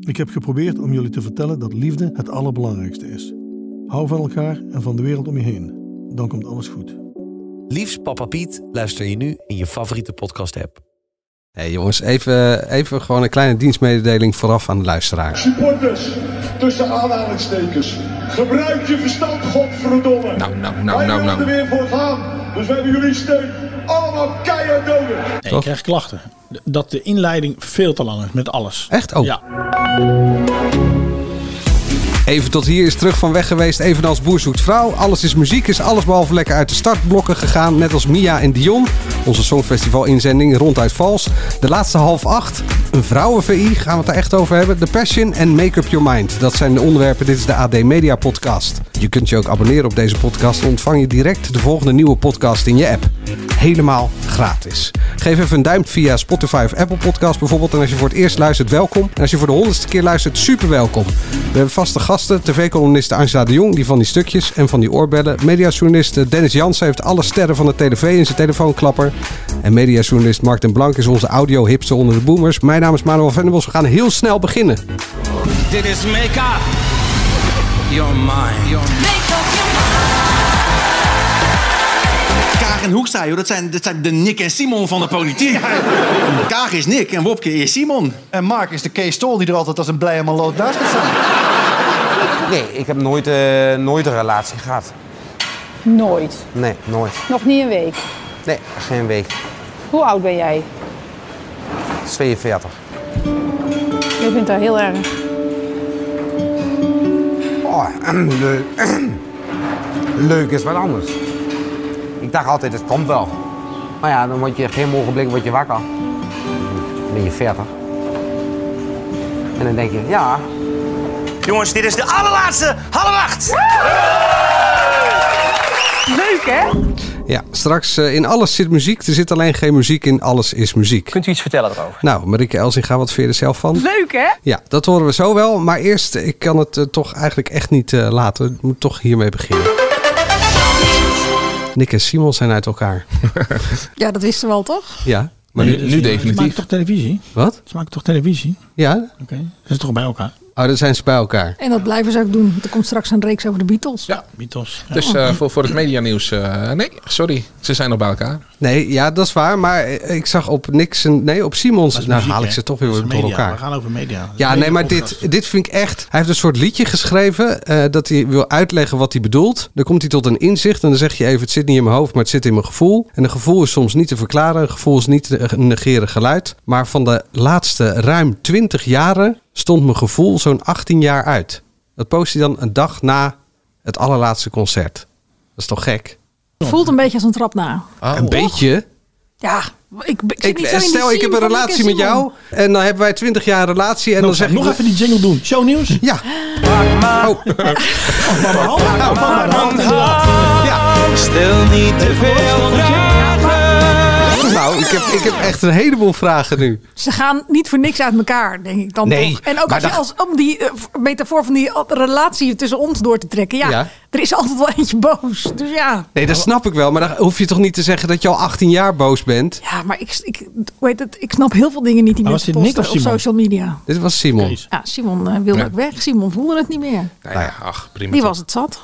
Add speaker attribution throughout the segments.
Speaker 1: Ik heb geprobeerd om jullie te vertellen dat liefde het allerbelangrijkste is. Hou van elkaar en van de wereld om je heen. Dan komt alles goed.
Speaker 2: Liefst Papa Piet luister je nu in je favoriete podcast-app.
Speaker 3: Hey jongens, even, even gewoon een kleine dienstmededeling vooraf aan de luisteraar.
Speaker 4: Supporters, tussen aanhalingstekens. Gebruik je verstand, godverdomme.
Speaker 3: Nou, nou, nou,
Speaker 4: Wij
Speaker 3: nou,
Speaker 4: willen
Speaker 3: nou.
Speaker 4: er weer voor gaan. Dus we hebben jullie steun. Allemaal keihard nodig.
Speaker 5: Nee,
Speaker 3: Toch?
Speaker 5: ik krijg klachten. D- Dat de inleiding veel te lang is met alles.
Speaker 3: Echt? Oh.
Speaker 5: Ja.
Speaker 3: Even tot hier is terug van weg geweest, evenals Boer zoekt vrouw. Alles is muziek, is alles behalve lekker uit de startblokken gegaan. Net als Mia en Dion. Onze Songfestival-inzending ronduit vals. De laatste half acht, een vrouwen-VI, gaan we het daar echt over hebben. The Passion en Make Up Your Mind. Dat zijn de onderwerpen. Dit is de AD Media Podcast. Je kunt je ook abonneren op deze podcast. Dan ontvang je direct de volgende nieuwe podcast in je app. Helemaal gratis. Geef even een duimpje via Spotify of Apple Podcast bijvoorbeeld. En als je voor het eerst luistert, welkom. En als je voor de honderdste keer luistert, super welkom. We hebben vaste gasten, tv-columniste Angela de Jong, die van die stukjes en van die oorbellen. Mediajournalist eh, Dennis Jansen heeft alle sterren van de TV in zijn telefoonklapper. En mediajournalist Mark den Blank is onze audio-hipster onder de boomers. Mijn naam is Manuel Venderbos. We gaan heel snel beginnen.
Speaker 6: Dit is Make Up Your Mind.
Speaker 7: Kaag en Hoekstra, joh, dat, zijn, dat zijn de Nick en Simon van de politiek. Kaag is Nick en Wopke is Simon.
Speaker 8: En Mark is de Kees Stol die er altijd als een blije maloot naast gaat staan.
Speaker 6: Nee, ik heb nooit, eh, nooit een relatie gehad.
Speaker 9: Nooit.
Speaker 6: Nee, nooit.
Speaker 9: Nog niet een week.
Speaker 6: Nee, geen week.
Speaker 9: Hoe oud ben jij?
Speaker 6: 42.
Speaker 9: Je vindt dat heel erg.
Speaker 6: Oh, leuk. leuk is wat anders. Ik dacht altijd, het komt wel. Maar ja, dan word je geen mogelijk word je wakker. Dan ben je 40. En dan denk je, ja. Jongens, dit is de allerlaatste half acht.
Speaker 9: Leuk, hè?
Speaker 3: Ja, straks eh, in alles zit muziek. Er zit alleen geen muziek in. Alles is muziek.
Speaker 6: Kunt u iets vertellen erover?
Speaker 3: Nou, Marieke Elsinga, wat vind je er zelf van?
Speaker 9: Leuk, hè?
Speaker 3: Ja, dat horen we zo wel. Maar eerst, ik kan het eh, toch eigenlijk echt niet eh, laten. Ik moet toch hiermee beginnen. Nick en Simon zijn uit elkaar.
Speaker 10: Ja, dat wisten we al toch?
Speaker 3: Ja, maar nu,
Speaker 5: nu definitief. dus Ze maken toch televisie?
Speaker 3: wat?
Speaker 5: Ze maken toch televisie?
Speaker 3: Ja?
Speaker 5: Oké. Ze zijn toch bij elkaar?
Speaker 3: Oh, dan zijn ze bij elkaar.
Speaker 10: En dat blijven ze ook doen. want Er komt straks een reeks over de Beatles.
Speaker 11: Ja,
Speaker 5: Mythos. Ja.
Speaker 11: dus eh, voor, voor het medianieuws. eh, nee, sorry. Ze zijn nog bij elkaar.
Speaker 3: Nee, ja, dat is waar. Maar eh, ik zag op Niks en... Nee, op Simons...
Speaker 5: Dat is
Speaker 3: Nou
Speaker 5: muziek,
Speaker 3: haal ik
Speaker 5: hè?
Speaker 3: ze toch weer
Speaker 5: Dat
Speaker 3: door
Speaker 5: is media.
Speaker 3: elkaar.
Speaker 5: We gaan over media. Dat is
Speaker 3: Ja,
Speaker 5: een
Speaker 3: nee, maar
Speaker 5: mediapodcast.
Speaker 3: dit, dit vind ik echt. Hij heeft een soort liedje geschreven eh, dat hij wil uitleggen wat hij bedoelt. Dan komt hij tot een inzicht en dan zeg je even: het zit niet in mijn hoofd, maar het zit in mijn gevoel. En een gevoel is soms niet te verklaren, een gevoel is niet te negeren geluid. Maar van de laatste ruim 20 jaren stond mijn gevoel zo'n 18 jaar uit. Dat post hij dan een dag na het allerlaatste concert. Dat is toch gek?
Speaker 10: Voelt een beetje als een trap na.
Speaker 5: Oh.
Speaker 3: een beetje.
Speaker 10: Ja, ik, ik zit
Speaker 3: Ik,
Speaker 10: niet zo in die
Speaker 3: stel, ik heb
Speaker 10: scene
Speaker 3: een
Speaker 10: van Nick en
Speaker 3: relatie met
Speaker 10: Simon.
Speaker 3: jou en dan hebben wij 20 jaar relatie en
Speaker 5: Nou,
Speaker 3: dan zeg ik
Speaker 5: nog even die jingle doen. Shownieuws.
Speaker 3: Ja. Oh.
Speaker 6: Stel niet te veel
Speaker 3: Nou, ik heb, ik heb echt een heleboel vragen nu.
Speaker 10: Ze gaan niet voor niks uit elkaar, denk ik dan
Speaker 3: Nee,
Speaker 10: toch. En ook
Speaker 3: maar
Speaker 10: als, je
Speaker 3: dat-
Speaker 10: als, om die eh, metafoor van die eh, relatie tussen ons door te trekken. Ja,
Speaker 3: Ja.
Speaker 10: er is altijd wel eentje boos. Dus ja.
Speaker 3: Nee, dat snap ik wel. Maar dan hoef je toch niet te zeggen dat je al 18 jaar boos bent?
Speaker 10: Ja, maar ik, ik, hoe heet het, ik snap heel veel dingen niet die
Speaker 5: Maar
Speaker 10: mensen
Speaker 5: was dit Nick
Speaker 10: posten
Speaker 5: of Simon?
Speaker 10: op social media.
Speaker 3: Dit was Simon.
Speaker 5: Kees.
Speaker 10: Ja, Simon eh, wilde ook weg. Simon voelde het niet meer.
Speaker 11: Nou ja, ach, prima.
Speaker 10: Die
Speaker 11: toch.
Speaker 10: was het zat.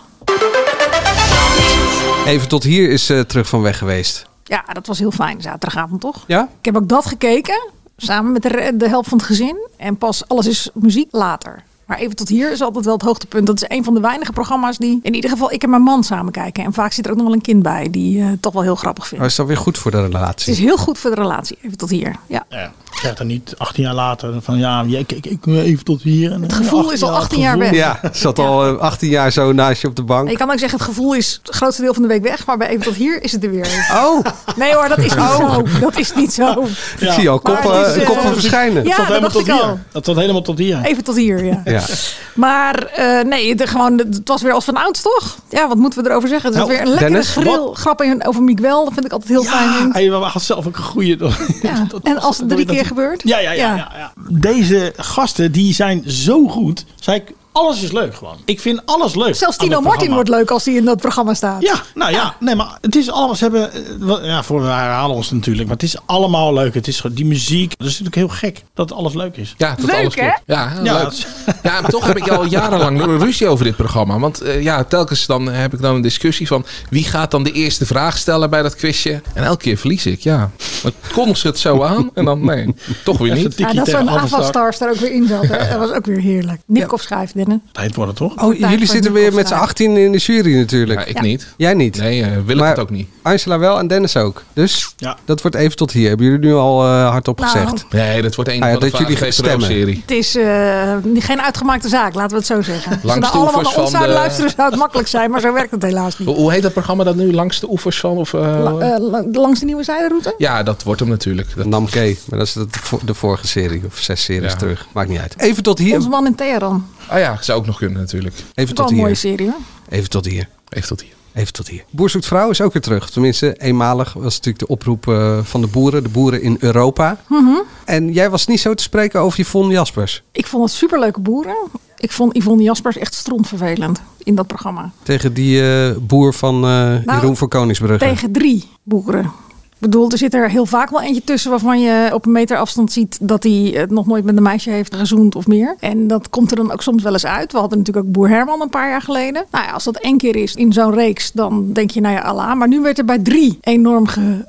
Speaker 3: Even tot hier is eh, terug van weg geweest.
Speaker 10: Ja, dat was heel fijn zaterdagavond, toch?
Speaker 3: Ja?
Speaker 10: Ik heb ook dat gekeken, samen met de, re- de helft van het gezin. En pas alles is muziek later. Maar even tot hier is altijd wel het hoogtepunt. Dat is een van de weinige programma's die in ieder geval ik en mijn man samen kijken. En vaak zit er ook nog wel een kind bij die eh, het toch wel heel grappig vindt.
Speaker 3: Maar Oh, is dat weer goed voor de
Speaker 10: Het is
Speaker 3: relatie?
Speaker 10: heel goed voor de relatie, even tot hier. Ja.
Speaker 5: Ja, zeg dan niet 18 jaar later van ja, ja, ik, ik, ik even tot hier. En,
Speaker 10: Het gevoel is al 18 jaar weg.
Speaker 3: Ja, zat al eh, 18 jaar zo naast je op de
Speaker 10: En Je
Speaker 3: bank.
Speaker 10: kan ook zeggen, het gevoel is het grootste deel van de week weg. Maar bij even tot hier is het er weer.
Speaker 3: Oh,
Speaker 10: Nee hoor, dat is niet zo. Dat is niet zo.
Speaker 3: ik zie al
Speaker 10: Maar
Speaker 3: koppen,
Speaker 10: het is, eh,
Speaker 3: koppen verschijnen.
Speaker 10: Ja,
Speaker 5: tot
Speaker 10: dat
Speaker 5: helemaal
Speaker 10: dacht
Speaker 5: tot
Speaker 10: ik
Speaker 5: hier.
Speaker 10: al.
Speaker 5: Dat tot helemaal tot hier.
Speaker 10: Even tot hier, ja.
Speaker 3: Ja. Oh, Ja.
Speaker 10: Maar eh, nee, de, gewoon, de- het was weer als van ouds, toch? Ja, wat moeten we erover zeggen? Het is
Speaker 5: Nou,
Speaker 10: weer een lekkere
Speaker 5: Dennis,
Speaker 10: grill, grap in- over Miguel. Dat vind ik altijd heel fijn.
Speaker 5: Hij had zelf ook een goede.
Speaker 10: Ja. En als het drie
Speaker 5: dat-
Speaker 10: keer gebeurt?
Speaker 5: Ja, ja, ja, ja, Deze gasten die zijn zo goed. Zij, alles is leuk gewoon. Ik vind alles leuk.
Speaker 10: Zelfs
Speaker 5: aan dat
Speaker 10: Tino Martin
Speaker 5: programma.
Speaker 10: wordt leuk als hij in dat programma staat.
Speaker 5: Ja, nou ja. nee, maar het is allemaal. Ze hebben. eh, wel- Ja, voor we herhalen ons natuurlijk. Maar het is allemaal leuk. Het is gewoon die muziek. Dat is natuurlijk heel gek dat alles leuk is.
Speaker 11: Ja, dat alles klopt. Ja, heel
Speaker 5: Ja,
Speaker 11: leuk.
Speaker 5: dat is-
Speaker 11: ja, maar toch heb ik al jarenlang ruzie over dit programma. Want eh, ja, telkens dan heb ik dan een discussie van wie gaat dan de eerste vraag stellen bij dat quizje. En elke keer verlies ik, ja. Dan kon ze het zo aan en dan nee, toch weer
Speaker 5: Even
Speaker 11: niet.
Speaker 10: Ja, Ah, dat zo'n Avastars daar ook weer in zat. hè. Dat was ook weer heerlijk. Nipkoff schrijft, Dennis.
Speaker 5: Tijd worden toch?
Speaker 3: Oh, jullie zitten weer met z'n 18 in de jury natuurlijk.
Speaker 11: ik Ja. niet.
Speaker 3: Jij niet?
Speaker 11: Nee, eh, wil Willem het ook niet.
Speaker 3: Angela wel en Dennis ook. Dus
Speaker 5: Ja.
Speaker 3: dat wordt even tot hier. Hebben jullie nu al eh, hardop
Speaker 10: Nou.
Speaker 3: gezegd?
Speaker 11: Nee, dat wordt een
Speaker 3: Ah ja,
Speaker 11: van de
Speaker 3: dat jullie
Speaker 11: vragen
Speaker 3: gaan
Speaker 11: deze
Speaker 3: stemmen.
Speaker 11: serie.
Speaker 10: Het is eh, geen uitgemaakte zaak, laten we het zo zeggen. Als ze
Speaker 11: Langs
Speaker 10: nou
Speaker 11: de
Speaker 10: allemaal
Speaker 11: oevers
Speaker 10: naar ons
Speaker 11: van
Speaker 10: zouden
Speaker 11: de-
Speaker 10: luisteren, zou het makkelijk zijn. Maar zo werkt het helaas niet.
Speaker 11: Hoe- Hoe heet dat programma dat nu? Langs de oevers van? Of, eh,
Speaker 10: La- eh, la- langs de nieuwe zijderoute?
Speaker 11: ja, dat wordt hem natuurlijk. Dat...
Speaker 3: Namke, maar dat is de, vo- de vorige serie of zes series
Speaker 11: Ja.
Speaker 3: terug. Maakt niet uit. Even tot hier.
Speaker 10: Onze man in Teheran.
Speaker 11: Ah ja, zou ook nog kunnen natuurlijk.
Speaker 3: Even
Speaker 10: Wel
Speaker 3: tot
Speaker 10: een mooie
Speaker 3: hier.
Speaker 10: serie hoor.
Speaker 3: Even tot hier.
Speaker 11: Even tot hier.
Speaker 3: Even tot hier. Boer zoekt vrouw is ook weer terug. Tenminste, eenmalig was natuurlijk de oproep eh, van de boeren. De boeren in Europa.
Speaker 10: Mhm.
Speaker 3: En jij was niet zo te spreken over Yvonne Jaspers.
Speaker 10: Ik vond het superleuke boeren. Ik vond Yvonne Jaspers echt strontvervelend in dat programma.
Speaker 3: Tegen die eh, boer van eh Jeroen voor Koningsbrugge.
Speaker 10: Nou, Tegen drie boeren. Ik bedoel, er zit er heel vaak wel eentje tussen waarvan je op een meter afstand ziet dat hij het nog nooit met een meisje heeft gezoend of meer. En dat komt er dan ook soms wel eens uit. We hadden natuurlijk ook Boer Herman een paar jaar geleden. Nou ja, als dat één keer is in zo'n reeks, dan denk je, nou ja, Allah. Maar nu werd er bij drie enorm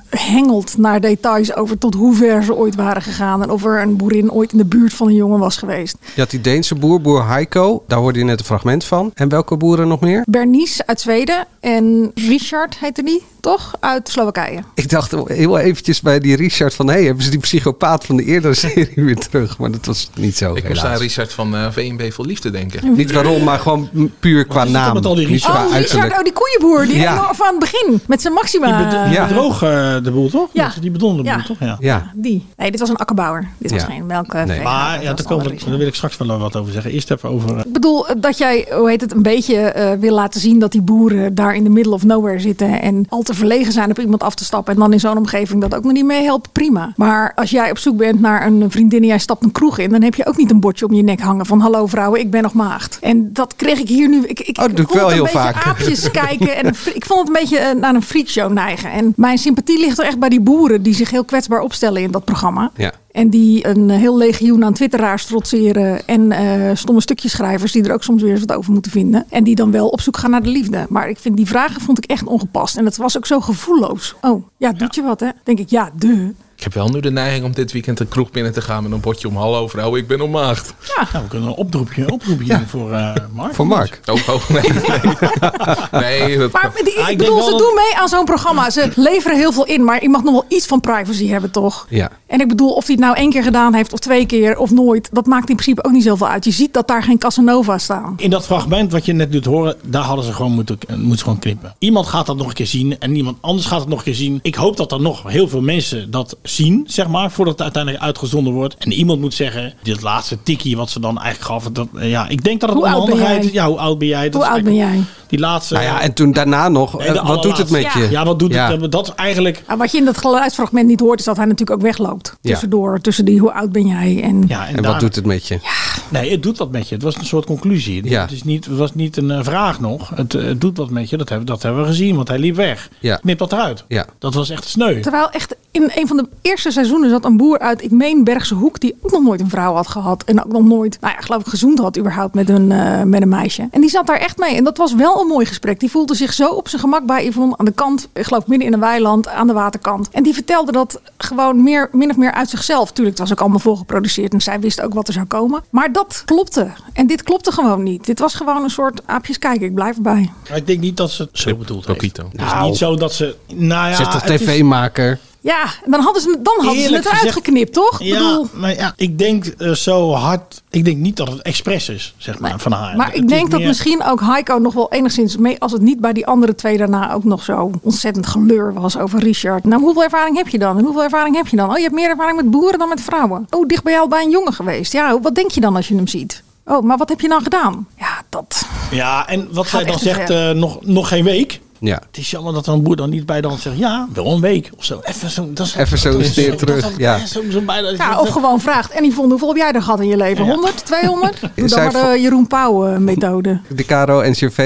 Speaker 10: gehengeld naar details over tot hoe ver ze ooit waren gegaan. En of er een boerin ooit in de buurt van een jongen was geweest.
Speaker 3: Je had die Deense boer, boer Heiko. Daar hoorde je net een fragment van. En welke boeren nog meer?
Speaker 10: Bernice uit Zweden en Richard heette die, toch? Uit Slowakije.
Speaker 3: Ik dacht heel eventjes bij die Richard van... hé, hey, hebben ze die psychopaat van de eerdere serie weer terug? Maar dat was niet zo,
Speaker 11: Ik moest aan
Speaker 3: helaas.
Speaker 11: Richard van eh, VNB Vol Liefde denken.
Speaker 3: Niet waarom, maar gewoon m- puur qua
Speaker 5: is het dan
Speaker 3: naam.
Speaker 5: met al die
Speaker 3: Niet
Speaker 5: Richard?
Speaker 3: qua
Speaker 10: Oh, Richard,
Speaker 3: uiterlijk.
Speaker 10: oh, die koeienboer. Die
Speaker 3: Ja.
Speaker 10: enorm van aan het begin. Met zijn maxima.
Speaker 5: Die bedo-
Speaker 3: Ja.
Speaker 5: bedroog eh, de boel toch?
Speaker 10: Ja.
Speaker 5: Dat- Die bedon de boel
Speaker 10: Ja.
Speaker 5: toch? Ja.
Speaker 3: Ja.
Speaker 10: Die. Nee, dit was een akkerbouwer. Dit was
Speaker 5: Ja.
Speaker 10: geen melkveehouder.
Speaker 5: Maar
Speaker 10: Dat
Speaker 5: ja,
Speaker 10: was
Speaker 5: daar,
Speaker 10: een
Speaker 5: komen
Speaker 10: andere
Speaker 5: we- daar wil ik straks wel wat over zeggen. Eerst even over. eh,
Speaker 10: ik bedoel eh, dat jij, hoe heet het, een beetje eh, wil laten zien dat die boeren daar in de middle of nowhere zitten en al te verlegen zijn op iemand af te stappen en dan in zo'n omgeving dat ook nog niet mee helpt, prima. Maar als jij op zoek bent naar een vriendin en jij stapt een kroeg in, dan heb je ook niet een bordje om je nek hangen van hallo vrouwen, ik ben nog maagd. En dat kreeg ik hier nu, ik, ik,
Speaker 3: Oh, dat
Speaker 10: ik
Speaker 3: doe ik
Speaker 10: vond
Speaker 3: wel
Speaker 10: het een
Speaker 3: heel
Speaker 10: beetje
Speaker 3: vaak.
Speaker 10: aapjes kijken en een fri- ik vond het een beetje eh, naar een freakshow neigen. En mijn sympathie ligt er echt bij die boeren die zich heel kwetsbaar opstellen in dat programma.
Speaker 3: Ja.
Speaker 10: En die een eh, heel legioen aan twitteraars trotseren. En eh, stomme stukjeschrijvers die er ook soms weer eens wat over moeten vinden. En die dan wel op zoek gaan naar de liefde. Maar ik vind die vragen vond ik echt ongepast. En het was ook zo gevoelloos. Oh, ja, doet je wat hè? Denk ik, ja, de.
Speaker 11: Ik heb wel nu de neiging om dit weekend een kroeg binnen te gaan met een bordje om hallo vrouw, ik ben ontmaagd.
Speaker 5: Nou, we kunnen een oproepje, een oproepje doen voor eh, Mark.
Speaker 3: Voor Mark.
Speaker 11: Oh, oh, nee, nee. nee dat,
Speaker 10: Maar die,
Speaker 5: Ah,
Speaker 10: ik
Speaker 5: ik
Speaker 10: bedoel,
Speaker 5: denk
Speaker 10: ze
Speaker 5: wel dat-
Speaker 10: doen mee aan zo'n programma. Ze leveren heel veel in. Maar je mag nog wel iets van privacy hebben, toch?
Speaker 3: Ja.
Speaker 10: En ik bedoel, of hij het nou één keer gedaan heeft, of twee keer, of nooit. Dat maakt in principe ook niet zoveel uit. Je ziet dat daar geen Casanova staan.
Speaker 5: In dat fragment wat je net doet horen, daar hadden ze gewoon moeten, eh, moeten ze gewoon knippen. Iemand gaat dat nog een keer zien en iemand anders gaat het nog een keer zien. Ik hoop dat er nog heel veel mensen dat zien, zeg maar, voordat het uiteindelijk uitgezonden wordt. En iemand moet zeggen, dit laatste tikkie wat ze dan eigenlijk gaf, dat, eh, ja, ik denk dat het
Speaker 10: Hoe oud ben
Speaker 5: onhandigheid...
Speaker 10: jij?
Speaker 5: Ja, hoe oud ben jij? Dat
Speaker 10: Hoe
Speaker 5: is
Speaker 10: oud ben
Speaker 5: eigenlijk
Speaker 10: jij?
Speaker 5: Die laatste...
Speaker 3: Nou ja, en toen daarna nog.
Speaker 5: nee,
Speaker 3: eh,
Speaker 5: de
Speaker 3: wat doet het met
Speaker 10: allerlaatste.
Speaker 3: je?
Speaker 5: Ja, wat doet
Speaker 3: Ja.
Speaker 5: het? eh, Dat is eigenlijk...
Speaker 10: Ja, Nou, wat je in dat geluidsfragment niet hoort, is dat hij natuurlijk ook wegloopt.
Speaker 3: Ja.
Speaker 10: Tussendoor, tussen die hoe oud ben jij en...
Speaker 5: Ja, en
Speaker 3: En
Speaker 5: daar-
Speaker 3: wat doet het met je?
Speaker 5: Nee, het doet wat met je. Het was een soort conclusie.
Speaker 3: Ja.
Speaker 5: Het, is niet, het was niet een eh, vraag nog. Het, eh, het doet wat met je. Dat hebben, dat hebben we gezien, want hij liep weg.
Speaker 3: Ja.
Speaker 5: Knip dat eruit.
Speaker 3: Ja.
Speaker 5: Dat was echt sneu.
Speaker 10: Terwijl echt in een van de eerste seizoenen zat een boer uit, ik meen Bergse Hoek, die ook nog nooit een vrouw had gehad. En ook nog nooit, nou ja, geloof ik, gezoend had überhaupt met een, eh, met een meisje. En die zat daar echt mee. En dat was wel een mooi gesprek. Die voelde zich zo op zijn gemak bij Yvonne aan de kant, ik geloof midden in een weiland, aan de waterkant. En die vertelde dat gewoon meer, min of meer uit zichzelf. Tuurlijk, het was ook allemaal voorgeproduceerd en zij wist ook wat er zou komen. Maar dat klopte. En dit klopte gewoon niet. Dit was gewoon een soort aapjes kijken, ik blijf erbij.
Speaker 5: Maar ik denk niet dat ze het zo bedoeld heeft.
Speaker 11: Tokito.
Speaker 5: Het is niet zo dat ze... Nou ja,
Speaker 3: Zegt toch
Speaker 5: het is-
Speaker 3: tv-maker?
Speaker 10: Ja, dan hadden ze, dan hadden ze
Speaker 5: Eerlijk
Speaker 10: het eruit
Speaker 5: gezegd-
Speaker 10: geknipt, toch? Ik
Speaker 5: Ja,
Speaker 10: bedoel,
Speaker 5: maar ja, ik denk eh, zo hard... Ik denk niet dat het expres is, zeg maar, van haar.
Speaker 10: maar
Speaker 5: Het
Speaker 10: ik
Speaker 5: is
Speaker 10: denk dat
Speaker 5: meer-
Speaker 10: misschien ook Heiko nog wel enigszins mee... als het niet bij die andere twee daarna ook nog zo ontzettend geleur was over Richard. Nou, hoeveel ervaring heb je dan? En hoeveel ervaring heb je dan? Oh, je hebt meer ervaring met boeren dan met vrouwen. Oh, dicht ben je al bij een jongen geweest. Ja, wat denk je dan als je hem ziet? Oh, maar wat heb je dan gedaan? Ja, dat.
Speaker 5: Ja, en wat zij dan
Speaker 10: echt te
Speaker 5: zegt,
Speaker 10: ver.
Speaker 5: eh, nog, nog geen week.
Speaker 3: Ja.
Speaker 5: Het is jammer dat dan boer dan niet bij dan zegt, ja, wel een week of zo. Even zo, dat is-
Speaker 3: Even zo
Speaker 5: dat
Speaker 3: een
Speaker 5: is-
Speaker 3: steer
Speaker 5: dat
Speaker 3: terug,
Speaker 5: is-
Speaker 3: ja.
Speaker 5: dat is zo- zo bijna-
Speaker 10: Ja, of gewoon vraagt. En Yvonne, hoeveel heb jij er gehad in je leven? 100, 200? Doe dan
Speaker 3: Zij
Speaker 10: maar de Jeroen eh, Pauw-methode.
Speaker 3: De Caro en CV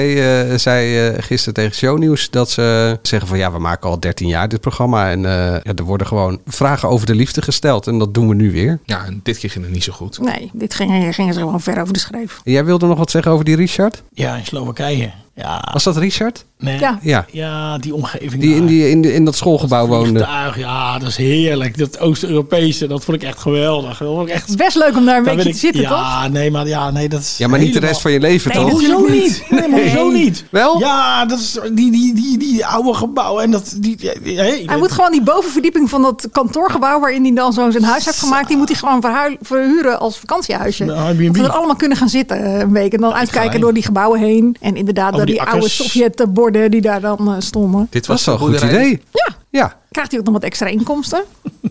Speaker 3: eh, zei eh, gisteren tegen Shownieuws dat ze zeggen van ja, we maken al 13 jaar dit programma en eh, ja, er worden gewoon vragen over de liefde gesteld en dat doen we nu weer.
Speaker 11: Ja, en dit keer ging het niet zo goed.
Speaker 10: Nee, dit ging, gingen ze gewoon ver over de schreef.
Speaker 3: Jij wilde nog wat zeggen over die Richard?
Speaker 5: Ja, in Slowakije. Ja.
Speaker 3: Was dat Richard?
Speaker 5: Nee.
Speaker 10: Ja.
Speaker 3: Ja.
Speaker 5: Ja, die omgeving
Speaker 3: Die in, die, in, die- in dat schoolgebouw woonde.
Speaker 5: Vliegtuig, ja, dat is heerlijk. Dat Oost-Europese, dat vond ik echt geweldig. Dat vond ik echt...
Speaker 10: Het is best leuk om daar een
Speaker 5: Daar
Speaker 10: beetje
Speaker 5: ben
Speaker 10: te
Speaker 5: ik-
Speaker 10: zitten, toch?
Speaker 5: ja, nee, maar ja, nee, dat is
Speaker 3: Ja, maar niet de
Speaker 5: helemaal-
Speaker 3: rest van je leven
Speaker 5: Nee,
Speaker 3: toch?
Speaker 5: hoezo
Speaker 10: natuurlijk
Speaker 5: niet? Nee, maar hoezo
Speaker 10: Nee.
Speaker 5: niet?
Speaker 3: Wel?
Speaker 5: Ja, dat is die, die, die, die oude gebouwen en dat... Die, ja, hey,
Speaker 10: Hij moet gewoon die bovenverdieping van dat kantoorgebouw waarin hij dan zo zijn huis heeft gemaakt, die moet hij gewoon verhuil- verhuren als vakantiehuisje.
Speaker 5: Een
Speaker 10: Dat
Speaker 5: Airbnb.
Speaker 10: we er allemaal kunnen gaan zitten eh, een week en dan uitkijken
Speaker 5: heen.
Speaker 10: door die gebouwen heen. En inderdaad
Speaker 5: Over
Speaker 10: door die,
Speaker 5: die
Speaker 10: oude
Speaker 5: akkers.
Speaker 10: Sovjet-borden die daar dan eh, stonden.
Speaker 3: Dat
Speaker 11: Dit was
Speaker 3: is wel
Speaker 11: zo'n
Speaker 3: een goed idee.
Speaker 10: Ja,
Speaker 3: Ja.
Speaker 10: krijgt hij ook nog wat extra inkomsten?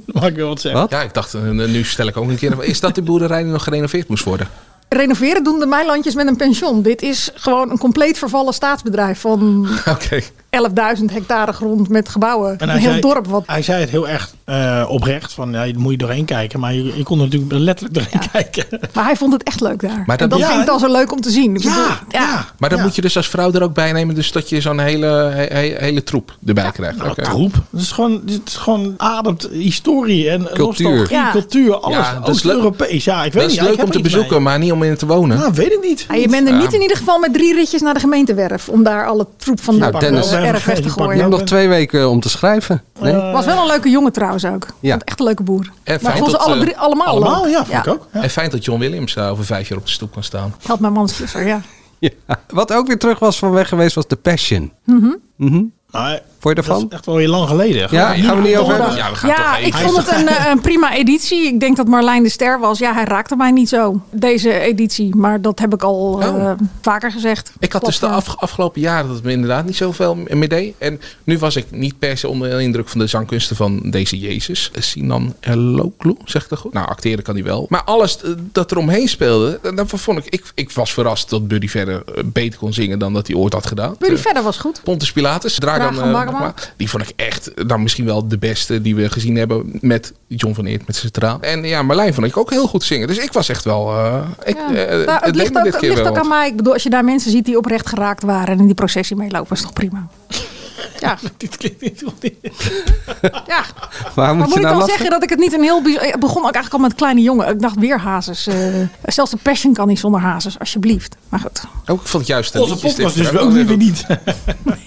Speaker 5: Mag ik wel wat zeggen?
Speaker 3: Wat?
Speaker 11: Ja, ik dacht, eh, nu stel ik ook een keer... Is dat de boerderij die nog gerenoveerd moest worden?
Speaker 10: Renoveren doen de Meilandjes met een pension. Dit is gewoon een compleet vervallen staatsbedrijf van
Speaker 11: Oké.
Speaker 10: 11.000 hectare grond met gebouwen.
Speaker 5: En
Speaker 10: een heel dorp wat
Speaker 5: Hij zei het heel erg eh, oprecht, van ja, daar moet je doorheen kijken. Maar je, je kon er natuurlijk letterlijk doorheen kijken.
Speaker 10: Maar hij vond het echt leuk daar.
Speaker 11: Maar
Speaker 10: en
Speaker 11: dat-
Speaker 10: dat
Speaker 5: Ja,
Speaker 10: vind ik dan zo leuk om te zien. Ik
Speaker 5: Ja,
Speaker 10: bedoel,
Speaker 5: ja.
Speaker 11: Maar dan
Speaker 5: Ja.
Speaker 11: moet je dus als vrouw er ook bij nemen... dus dat je zo'n hele, he- he- hele troep erbij krijgt.
Speaker 5: Nou,
Speaker 11: Oké.
Speaker 5: troep. Het is gewoon, het is gewoon ademt historie en
Speaker 3: Cultuur.
Speaker 5: nostalgie,
Speaker 10: Ja.
Speaker 5: cultuur, alles.
Speaker 11: Ja, dat is leuk.
Speaker 5: Oost-Europees. Ja, ik weet
Speaker 11: Dat is
Speaker 5: niet. ik
Speaker 11: leuk
Speaker 5: heb
Speaker 11: om
Speaker 5: er
Speaker 11: te
Speaker 5: iets
Speaker 11: bezoeken, maar niet om in te wonen.
Speaker 5: mee. Nou, weet ik niet.
Speaker 10: Ja, Ah, je bent er
Speaker 11: Ja.
Speaker 10: niet in ieder geval met drie ritjes naar de gemeentewerf om daar alle troep van
Speaker 3: Nou,
Speaker 10: de
Speaker 3: Dennis.
Speaker 10: eh, erf
Speaker 5: Die
Speaker 10: weg te
Speaker 5: pakt
Speaker 3: Je
Speaker 10: gooien.
Speaker 3: hebt nog twee weken eh, om te schrijven. Nee?
Speaker 10: Was wel een leuke jongen trouwens ook.
Speaker 3: Ja.
Speaker 10: Ja. Echt een leuke boer.
Speaker 11: En
Speaker 10: Maar
Speaker 11: fijn
Speaker 10: ik vond ze
Speaker 11: dat,
Speaker 10: alle
Speaker 11: eh,
Speaker 10: drie allemaal,
Speaker 5: Allemaal,
Speaker 10: leuk.
Speaker 5: ja, vond ik ook. Ja.
Speaker 11: En fijn dat John Williams eh, over vijf jaar op de stoep kan staan.
Speaker 10: Help mijn man slusser, ja.
Speaker 3: Ja. Wat ook weer terug was van weg geweest was The Passion. Mhm.
Speaker 5: Maar
Speaker 3: Vond je
Speaker 5: dat
Speaker 3: ervan?
Speaker 5: is echt wel weer lang geleden.
Speaker 3: Ja, gaan we niet over hebben.
Speaker 11: Ja, we gaan
Speaker 10: Ja,
Speaker 11: toch even...
Speaker 10: ik vond het een, eh, een prima editie. Ik denk dat Marlijn de Ster was. Ja, hij raakte mij niet zo, deze editie. Maar dat heb ik al eh,
Speaker 11: Oh.
Speaker 10: vaker gezegd.
Speaker 11: Ik had dus de
Speaker 10: Platform.
Speaker 11: af- afgelopen jaren dat het me inderdaad niet zoveel mee deed. En nu was ik niet per se onder de indruk van de zangkunsten van deze Jezus. Eh, Sinan Eloklu, zeg ik dat goed? Nou, acteren kan hij wel. Maar alles eh, dat er omheen speelde, eh, daarvan vond ik, ik... Ik was verrast dat Buddy verder eh, beter kon zingen dan dat hij ooit had gedaan.
Speaker 10: Buddy
Speaker 11: Eh,
Speaker 10: verder was goed.
Speaker 11: Pontus Pilatus, Dragan,
Speaker 10: Dragan
Speaker 11: eh,
Speaker 10: Bhagwan.
Speaker 11: Bhagwan. Die vond ik echt, eh, nou misschien wel de beste die we gezien hebben met John van Eert, met zijn traan. En ja, Marlijn vond ik ook heel goed zingen. Dus ik was echt wel... eh, ik,
Speaker 10: Ja.
Speaker 11: eh,
Speaker 10: Nou,
Speaker 11: het
Speaker 10: het
Speaker 11: leek
Speaker 10: ligt
Speaker 11: me
Speaker 10: ook,
Speaker 11: dit
Speaker 10: het
Speaker 11: keer
Speaker 10: ligt
Speaker 11: wel
Speaker 10: ook
Speaker 11: wat.
Speaker 10: aan mij. Ik bedoel, als je daar mensen ziet die oprecht geraakt waren en in die processie meelopen, is toch prima. Ja,
Speaker 5: Dit klinkt niet goed.
Speaker 10: ja.
Speaker 3: Waar
Speaker 10: Maar
Speaker 3: moet
Speaker 10: moet
Speaker 3: je nou
Speaker 10: ik dan
Speaker 3: lachen?
Speaker 10: zeggen dat ik het niet een heel... bijz- Ik begon ook eigenlijk al met kleine jongen. Ik dacht weer hazes. eh, zelfs de passion kan niet zonder hazes, alsjeblieft. Maar goed.
Speaker 11: Ook ik vond het juist de
Speaker 5: Onze
Speaker 11: liedjes
Speaker 5: podcast
Speaker 11: dit
Speaker 5: dus
Speaker 11: keer
Speaker 5: ook
Speaker 11: wel
Speaker 5: nu weer
Speaker 11: weer
Speaker 5: niet.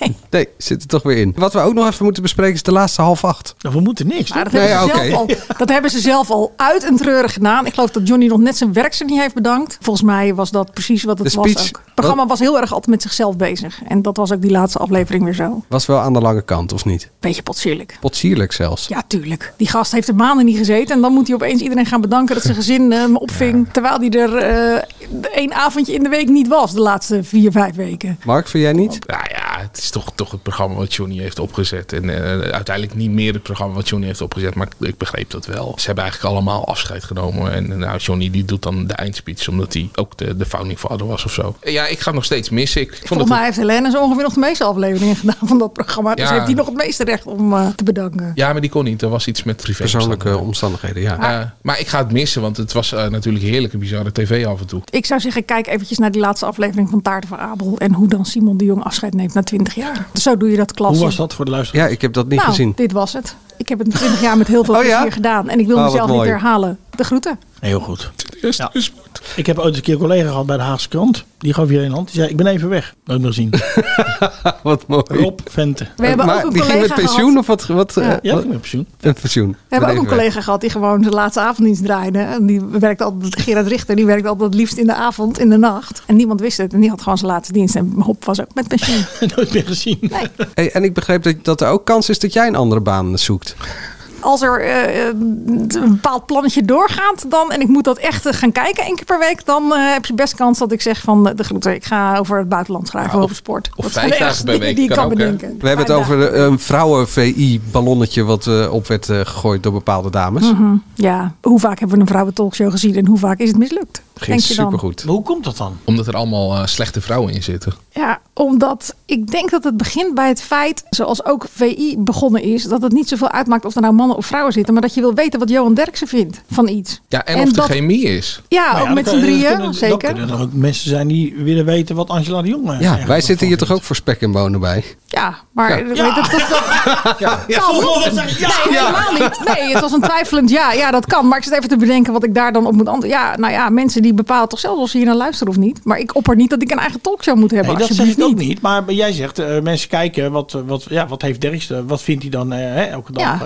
Speaker 3: Nee, zit er toch weer in. Wat we ook nog even moeten bespreken is de laatste half acht.
Speaker 5: Nou, we moeten niks.
Speaker 10: Maar dat,
Speaker 3: Nee,
Speaker 10: hebben ze
Speaker 3: oké.
Speaker 10: zelf al, dat hebben ze zelf al uit en treurig gedaan. Ik geloof dat Johnny nog net zijn werk ze niet heeft bedankt. Volgens mij was dat precies wat het
Speaker 3: De
Speaker 10: was
Speaker 3: speech.
Speaker 10: ook. Het programma was heel erg altijd met zichzelf bezig. En dat was ook die laatste aflevering weer zo.
Speaker 3: Was wel aan de lange kant, of niet?
Speaker 10: Beetje potsierlijk.
Speaker 3: Potsierlijk zelfs.
Speaker 10: Ja, tuurlijk. Die gast heeft er maanden niet gezeten. En dan moet hij opeens iedereen gaan bedanken dat zijn gezin eh, hem opving. Terwijl hij er eh, één avondje in de week niet was de laatste vier, vijf weken.
Speaker 3: Mark, vind jij niet?
Speaker 11: Nou ja, het is toch, toch het programma wat Johnny heeft opgezet. En eh, uiteindelijk niet meer het programma wat Johnny heeft opgezet. Maar ik, ik begreep dat wel. Ze hebben eigenlijk allemaal afscheid genomen. En eh, nou, Johnny die doet dan de eindspeech. Omdat hij ook de, de founding father was of zo. Eh, Ja, ik ga hem nog steeds missen. Ik, ik vond
Speaker 10: Volgens
Speaker 11: het...
Speaker 10: mij heeft Helene zo ongeveer nog de meeste afleveringen gedaan van dat programma. Dus
Speaker 11: Ja.
Speaker 10: heeft hij nog het meeste recht om eh, te bedanken.
Speaker 11: Ja, maar die kon niet. Er was iets met privé.
Speaker 3: Persoonlijke omstandigheden, ja.
Speaker 5: Ah.
Speaker 11: Eh, maar ik ga het missen, want het was eh, natuurlijk heerlijke, bizarre tv af en toe.
Speaker 10: Ik zou zeggen, kijk eventjes naar die laatste aflevering van Taarten van Abel. En hoe dan Simon de Jong afscheid neemt na 20 jaar. Zo doe je dat klasse.
Speaker 5: Hoe was dat voor de luisteraar?
Speaker 3: Ja, ik heb dat niet
Speaker 10: nou,
Speaker 3: gezien.
Speaker 10: dit was het. Ik heb het 20 jaar met heel veel
Speaker 3: Oh ja?
Speaker 10: plezier gedaan. En ik wil
Speaker 3: Oh, wat
Speaker 10: mezelf niet
Speaker 3: mooi.
Speaker 10: herhalen. De groeten.
Speaker 5: Heel goed. Ja. Ik heb ooit een keer een collega gehad bij de Haagse krant. Die gaf hier een hand. Die zei, ik ben even weg. Nooit meer zien.
Speaker 3: Wat mooi.
Speaker 5: Rob Vente.
Speaker 10: We hebben
Speaker 3: maar
Speaker 10: ook een
Speaker 3: die ging
Speaker 10: collega
Speaker 3: met pensioen
Speaker 10: gehad.
Speaker 3: of wat? wat eh,
Speaker 5: Ja,
Speaker 3: wat-
Speaker 5: ik ben pensioen.
Speaker 3: Een pensioen.
Speaker 10: We hebben ook een
Speaker 3: Bedreven.
Speaker 10: collega gehad die gewoon zijn laatste avonddienst draaide. En die werkte altijd, Gerard Richter, die werkte altijd het liefst in de avond, in de nacht. En niemand wist het. En die had gewoon zijn laatste dienst. En Hop was ook met pensioen.
Speaker 5: Nooit meer gezien.
Speaker 3: Hey, en ik begreep dat, dat er ook kans is dat jij een andere baan zoekt.
Speaker 10: Als er eh, eh, een bepaald plannetje doorgaat dan, en ik moet dat echt eh, gaan kijken één keer per week, dan eh, heb je best kans dat ik zeg van eh, de groeten. Ik ga over het buitenland schrijven,
Speaker 11: of-
Speaker 10: over sport.
Speaker 11: of vijf
Speaker 10: Dat zijn de
Speaker 11: dagen
Speaker 10: ergste
Speaker 11: per
Speaker 10: dingen
Speaker 11: week
Speaker 10: die ik
Speaker 11: kan
Speaker 10: kan
Speaker 11: ook, hè?
Speaker 10: bedenken.
Speaker 3: We hebben het
Speaker 10: Vijf
Speaker 3: over eh, een vrouwen-VI-ballonnetje wat eh, op
Speaker 10: Mhm.
Speaker 3: werd eh, gegooid door bepaalde dames.
Speaker 10: dagen. Ja, hoe vaak hebben we een vrouwentalkshow gezien en hoe vaak is het mislukt? denk je dan?
Speaker 5: Maar hoe komt dat dan?
Speaker 11: Omdat er allemaal eh, slechte vrouwen in zitten.
Speaker 10: Ja, omdat ik denk dat het begint bij het feit, zoals ook VI begonnen is, dat het niet zoveel uitmaakt of er nou mannen of vrouwen zitten, maar dat je wil weten wat Johan Derksen vindt van iets.
Speaker 11: Ja, en, of de
Speaker 10: dat-
Speaker 11: chemie is.
Speaker 10: Ja,
Speaker 5: Nou
Speaker 10: ook
Speaker 5: dan
Speaker 10: met
Speaker 5: kan-
Speaker 10: z'n
Speaker 5: dan
Speaker 10: drieën,
Speaker 5: kunnen- Dan
Speaker 10: zeker.
Speaker 5: kunnen er ook mensen zijn die willen weten wat Angela de Jong eh,
Speaker 3: Ja,
Speaker 5: eigenlijk
Speaker 3: wij zitten hier toch ook voor spek en bonen bij?
Speaker 10: Ja, maar
Speaker 3: Ja.
Speaker 10: weet je, dat, dat, dat
Speaker 5: Ja,
Speaker 10: kan.
Speaker 5: volgens mij was het- ja,
Speaker 10: nee,
Speaker 5: ja.
Speaker 10: helemaal niet. Nee, het was een twijfelend ja. Ja, dat kan. Maar ik zit even te bedenken wat ik daar dan op moet antwoorden. Ja, nou ja, mensen die bepalen toch zelf of ze hier naar luisteren of niet. Maar ik opper niet dat ik een eigen talkshow moet hebben.
Speaker 5: Nee, dat zeg
Speaker 10: alsjeblieft
Speaker 5: ik ook
Speaker 10: niet.
Speaker 5: niet. Maar jij zegt, eh, mensen kijken, wat, wat, ja, wat heeft Derks, eh, wat vindt hij dan eh, hè, elke dag?
Speaker 10: Ja,
Speaker 5: eh.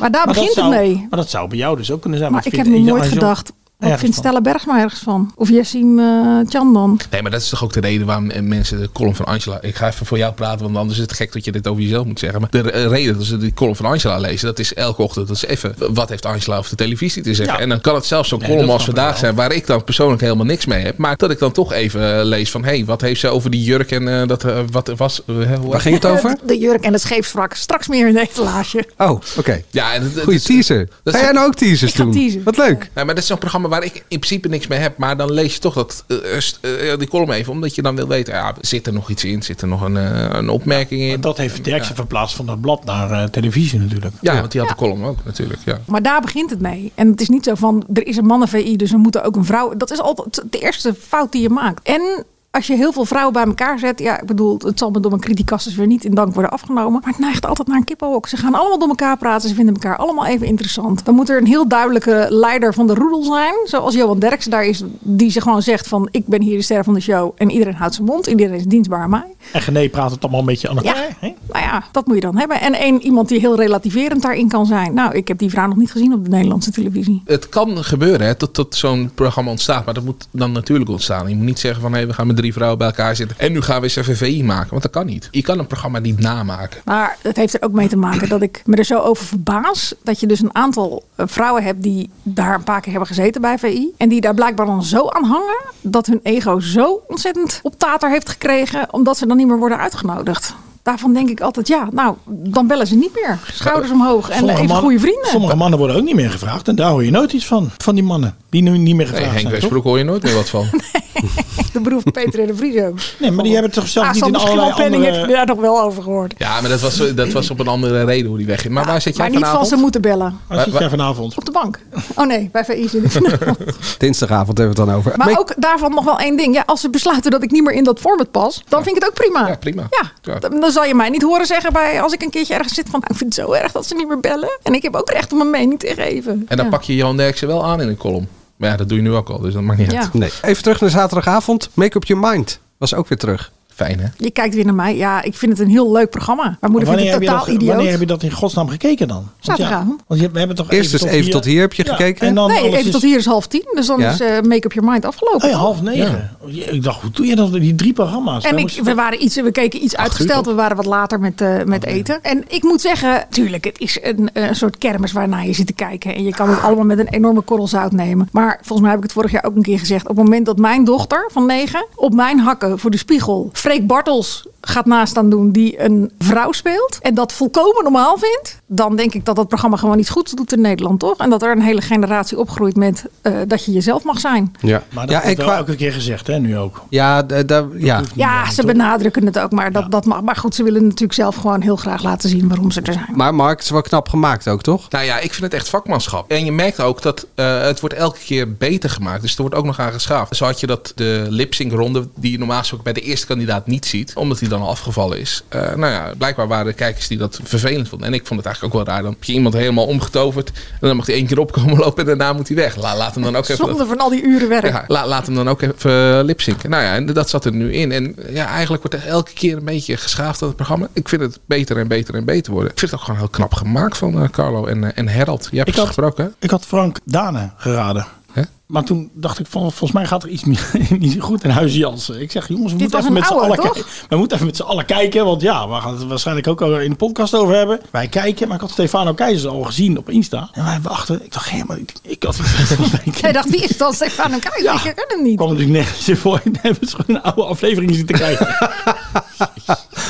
Speaker 10: maar daar
Speaker 5: dat
Speaker 10: begint het
Speaker 5: zou-
Speaker 10: mee.
Speaker 5: Maar dat zou bij jou dus ook kunnen zijn.
Speaker 10: Maar
Speaker 5: Wat
Speaker 10: ik heb
Speaker 5: vindt
Speaker 10: nog
Speaker 5: Angela
Speaker 10: nooit
Speaker 5: de Jong
Speaker 10: gedacht. Wat
Speaker 5: ergens
Speaker 10: vindt
Speaker 5: van?
Speaker 10: Stella Bergsma ergens van? Of Jessim eh Chan dan?
Speaker 11: Nee, maar dat is toch ook de reden waarom eh, mensen de column van Angela... Ik ga even voor jou praten, want anders is het gek dat je dit over jezelf moet zeggen. Maar de eh, reden dat ze die column van Angela lezen, dat is elke ochtend. Dat is even, eh, wat heeft Angela over de televisie te zeggen?
Speaker 5: Ja.
Speaker 11: En dan kan het zelfs zo'n
Speaker 5: Nee,
Speaker 11: column
Speaker 5: dat
Speaker 11: als
Speaker 5: snap ik
Speaker 11: vandaag
Speaker 5: wel.
Speaker 11: zijn, waar ik dan persoonlijk helemaal niks mee heb. Maar dat ik dan toch even eh, lees van, hé, hey, wat heeft ze over die jurk en eh, dat, eh, wat was... eh, hoe-
Speaker 3: Waar ging het over?
Speaker 10: De jurk en het scheepswrak. Straks meer in deze laagje.
Speaker 3: Oh, oké.
Speaker 11: Ja, en het- het
Speaker 3: Goeie
Speaker 11: is-
Speaker 3: teaser.
Speaker 11: dat
Speaker 3: Ga
Speaker 11: is-
Speaker 3: jij nou ook teasers
Speaker 10: Ik ga
Speaker 3: doen?
Speaker 10: teasen.
Speaker 3: Wat leuk.
Speaker 11: Ja, maar dat is zo'n programma waar ik in principe niks mee heb. Maar dan lees je toch dat, eh, eh, st- eh, die column even. Omdat je dan wil weten, ja, zit er nog iets in? Zit er nog een, eh, een opmerking in?
Speaker 5: Dat heeft Derksen verplaatst van dat blad naar eh, televisie natuurlijk.
Speaker 11: Ja, want die had de column ook natuurlijk. Ja.
Speaker 10: Maar daar begint het mee. En het is niet zo van, er is een mannen-VI, dus we moeten ook een vrouw. Dat is altijd de eerste fout die je maakt. En als je heel veel vrouwen bij elkaar zet... Ja, ik bedoel, het zal me door mijn criticasters weer niet in dank worden afgenomen. Maar het neigt altijd naar een kippenhok. Ze gaan allemaal door elkaar praten. Ze vinden elkaar allemaal even interessant. Dan moet er een heel duidelijke leider van de roedel zijn. Zoals Johan Derksen daar is. Die ze gewoon zegt van, ik ben hier de ster van de show. En iedereen houdt zijn mond. Iedereen is dienstbaar aan mij.
Speaker 5: En Gené praat het allemaal een beetje aan elkaar.
Speaker 10: Ja, nou ja, dat moet je dan hebben. En één iemand die heel relativerend daarin kan zijn. Nou, ik heb die vrouw nog niet gezien op de Nederlandse televisie.
Speaker 11: Het kan gebeuren hè, dat, dat zo'n programma ontstaat. Maar dat moet dan natuurlijk ontstaan. Je moet niet zeggen van hé, we gaan met drie vrouwen bij elkaar zitten. En nu gaan we eens even VI maken. Want dat kan niet. Je kan een programma niet namaken.
Speaker 10: Maar het heeft er ook mee te maken dat ik me er zo over verbaas. Dat je dus een aantal eh, vrouwen hebt die daar een paar keer hebben gezeten bij VI. En die daar blijkbaar dan zo aan hangen. Dat hun ego zo ontzettend op tater heeft gekregen. Omdat ze dan niet meer worden uitgenodigd. Daarvan denk ik altijd, ja, nou, dan bellen ze niet meer. Schouders omhoog en
Speaker 5: Sommige
Speaker 10: even
Speaker 5: mannen-
Speaker 10: goede vrienden.
Speaker 5: Sommige mannen worden ook niet meer gevraagd. En daar hoor je nooit iets van. Van die mannen. Die nu niet meer
Speaker 11: Nee,
Speaker 5: gevraagd
Speaker 11: Henk
Speaker 5: zijn. toch?
Speaker 11: Westbroek hoor je nooit meer wat van.
Speaker 10: De broer van Peter en de Vries ook.
Speaker 5: Nee, maar die hebben toch zelf niet
Speaker 10: Asan,
Speaker 5: in
Speaker 10: misschien
Speaker 5: allerlei
Speaker 10: wel Penning
Speaker 5: andere...
Speaker 10: heb ik daar nog wel over gehoord.
Speaker 11: Ja, maar dat was, eh, dat was op een andere reden hoe die wegging. Maar waar zit jij
Speaker 10: Maar niet van
Speaker 11: vanavond?
Speaker 10: ze moeten bellen.
Speaker 5: Waar zit jij vanavond?
Speaker 10: Op de bank. Oh nee, bij VI zit ik vanavond.
Speaker 3: Dinsdagavond hebben we het dan over.
Speaker 10: Maar
Speaker 3: Maar-
Speaker 10: ook daarvan nog wel één ding. Ja, als ze besluiten dat ik niet meer in dat format pas, dan vind ik het ook prima.
Speaker 11: Ja, prima. Ja.
Speaker 10: Dan, dan zal je mij niet horen zeggen bij als ik een keertje ergens zit van nou, ik vind het zo erg dat ze niet meer bellen. En ik heb ook recht om mijn mening te geven.
Speaker 11: En dan
Speaker 10: Ja.
Speaker 11: pak je Johan Derksen wel aan in een column. Maar ja, dat doe je nu ook al, dus dat maakt niet
Speaker 10: Ja.
Speaker 11: uit.
Speaker 3: Nee. Even terug naar zaterdagavond. Make Up Your Mind was ook weer terug.
Speaker 11: Fijn, hè?
Speaker 10: Je kijkt weer naar mij. Ja, ik vind het een heel leuk programma. Mijn moeder
Speaker 5: wanneer,
Speaker 10: vindt
Speaker 5: heb
Speaker 10: het
Speaker 5: je
Speaker 10: totaal
Speaker 5: dat,
Speaker 10: idioot.
Speaker 5: wanneer heb je dat in godsnaam gekeken dan? Want ja,
Speaker 10: Zaterdagavond.
Speaker 5: want je, we hebben toch
Speaker 10: dus
Speaker 3: Eerst eens even tot hier heb je
Speaker 5: Ja,
Speaker 3: gekeken.
Speaker 5: En dan
Speaker 10: nee,
Speaker 5: alles
Speaker 10: even
Speaker 5: is-
Speaker 10: tot hier is half tien. Dus dan
Speaker 3: Ja.
Speaker 10: is eh, Make Up Your Mind afgelopen.
Speaker 5: Oh ja, half negen. Jee, Ik dacht, hoe doe je dat? Die drie programma's.
Speaker 10: En
Speaker 5: Dan
Speaker 10: ik,
Speaker 5: moest je-
Speaker 10: we, waren iets, we keken iets uitgesteld. We waren wat later met, eh,
Speaker 5: Oh,
Speaker 10: met eten. En ik moet zeggen, tuurlijk, het is een, eh, een soort kermis waarnaar je zit te kijken. En je kan het
Speaker 5: Ah.
Speaker 10: allemaal met een enorme korrel zout nemen. Maar volgens mij heb ik het vorig jaar ook een keer gezegd. Op het moment dat mijn dochter van negen op mijn hakken voor de spiegel Freek Bartels gaat naast aan doen die een vrouw speelt. En dat volkomen normaal vindt. Dan denk ik dat dat programma gewoon iets goeds doet in Nederland, toch? En dat er een hele generatie opgroeit met eh, dat je jezelf mag zijn.
Speaker 3: Ja.
Speaker 5: maar dat
Speaker 3: ja,
Speaker 5: ja,
Speaker 3: en
Speaker 5: wordt wel
Speaker 3: qua...
Speaker 5: elke keer gezegd, hè, nu ook.
Speaker 3: Ja, d- daar- ja.
Speaker 10: Ja, ze benadrukken het ook, maar dat, dat mag. Maar goed, ze willen natuurlijk zelf gewoon heel graag laten zien waarom ze er zijn.
Speaker 3: Maar Mark, het is wel knap gemaakt ook, toch?
Speaker 11: Nou ja, ik vind het echt vakmanschap. En je merkt ook dat eh, het wordt elke keer beter gemaakt. Dus er wordt ook nog aan geschaafd. Zo had je dat de lip-sync ronde, die je normaal gesproken bij de eerste kandidaat niet ziet. Omdat hij dan al afgevallen is. Eh, nou ja, blijkbaar waren er kijkers die dat vervelend vonden. En ik vond het eigenlijk ook wel raar. Dan heb je iemand helemaal omgetoverd. En dan mag hij één keer opkomen lopen en daarna moet hij weg. La- laat hem dan ook even...
Speaker 10: Zonder van al die uren werk.
Speaker 11: Ja, la- laat hem dan ook even lipzinken. Nou ja, en dat zat er nu in. En ja, eigenlijk wordt er elke keer een beetje geschaafd aan het programma. Ik vind het beter en beter en beter worden. Ik vind het ook gewoon heel knap gemaakt van eh, Carlo en, eh, en Herald. Je hebt
Speaker 5: Ik
Speaker 11: ze
Speaker 5: had-
Speaker 11: gesproken, hè?
Speaker 5: Ik had Frank Dane geraden.
Speaker 11: Hè?
Speaker 5: Maar toen dacht ik, van, volgens mij gaat er iets niet- niet goed in huis Jansen. Ik zeg, jongens, we
Speaker 10: Dit
Speaker 5: moeten,
Speaker 10: was
Speaker 5: even
Speaker 10: een
Speaker 5: met z'n
Speaker 10: oude,
Speaker 5: allen
Speaker 10: toch?
Speaker 5: kijken. we moeten even met z'n allen kijken. Want ja, we gaan het waarschijnlijk ook al in de podcast over hebben. Wij kijken, maar ik had Stefano Keizers al gezien op Insta. En wij wachten. Ik dacht, hé, maar ik, ik had...
Speaker 10: Jij dacht, wie is dat? Stefan Keizer,
Speaker 5: Ja.
Speaker 10: ik ken hem
Speaker 5: dus
Speaker 10: niet.
Speaker 5: kwam natuurlijk nergens in voor. Nee, we hebben gewoon een oude aflevering zitten kijken.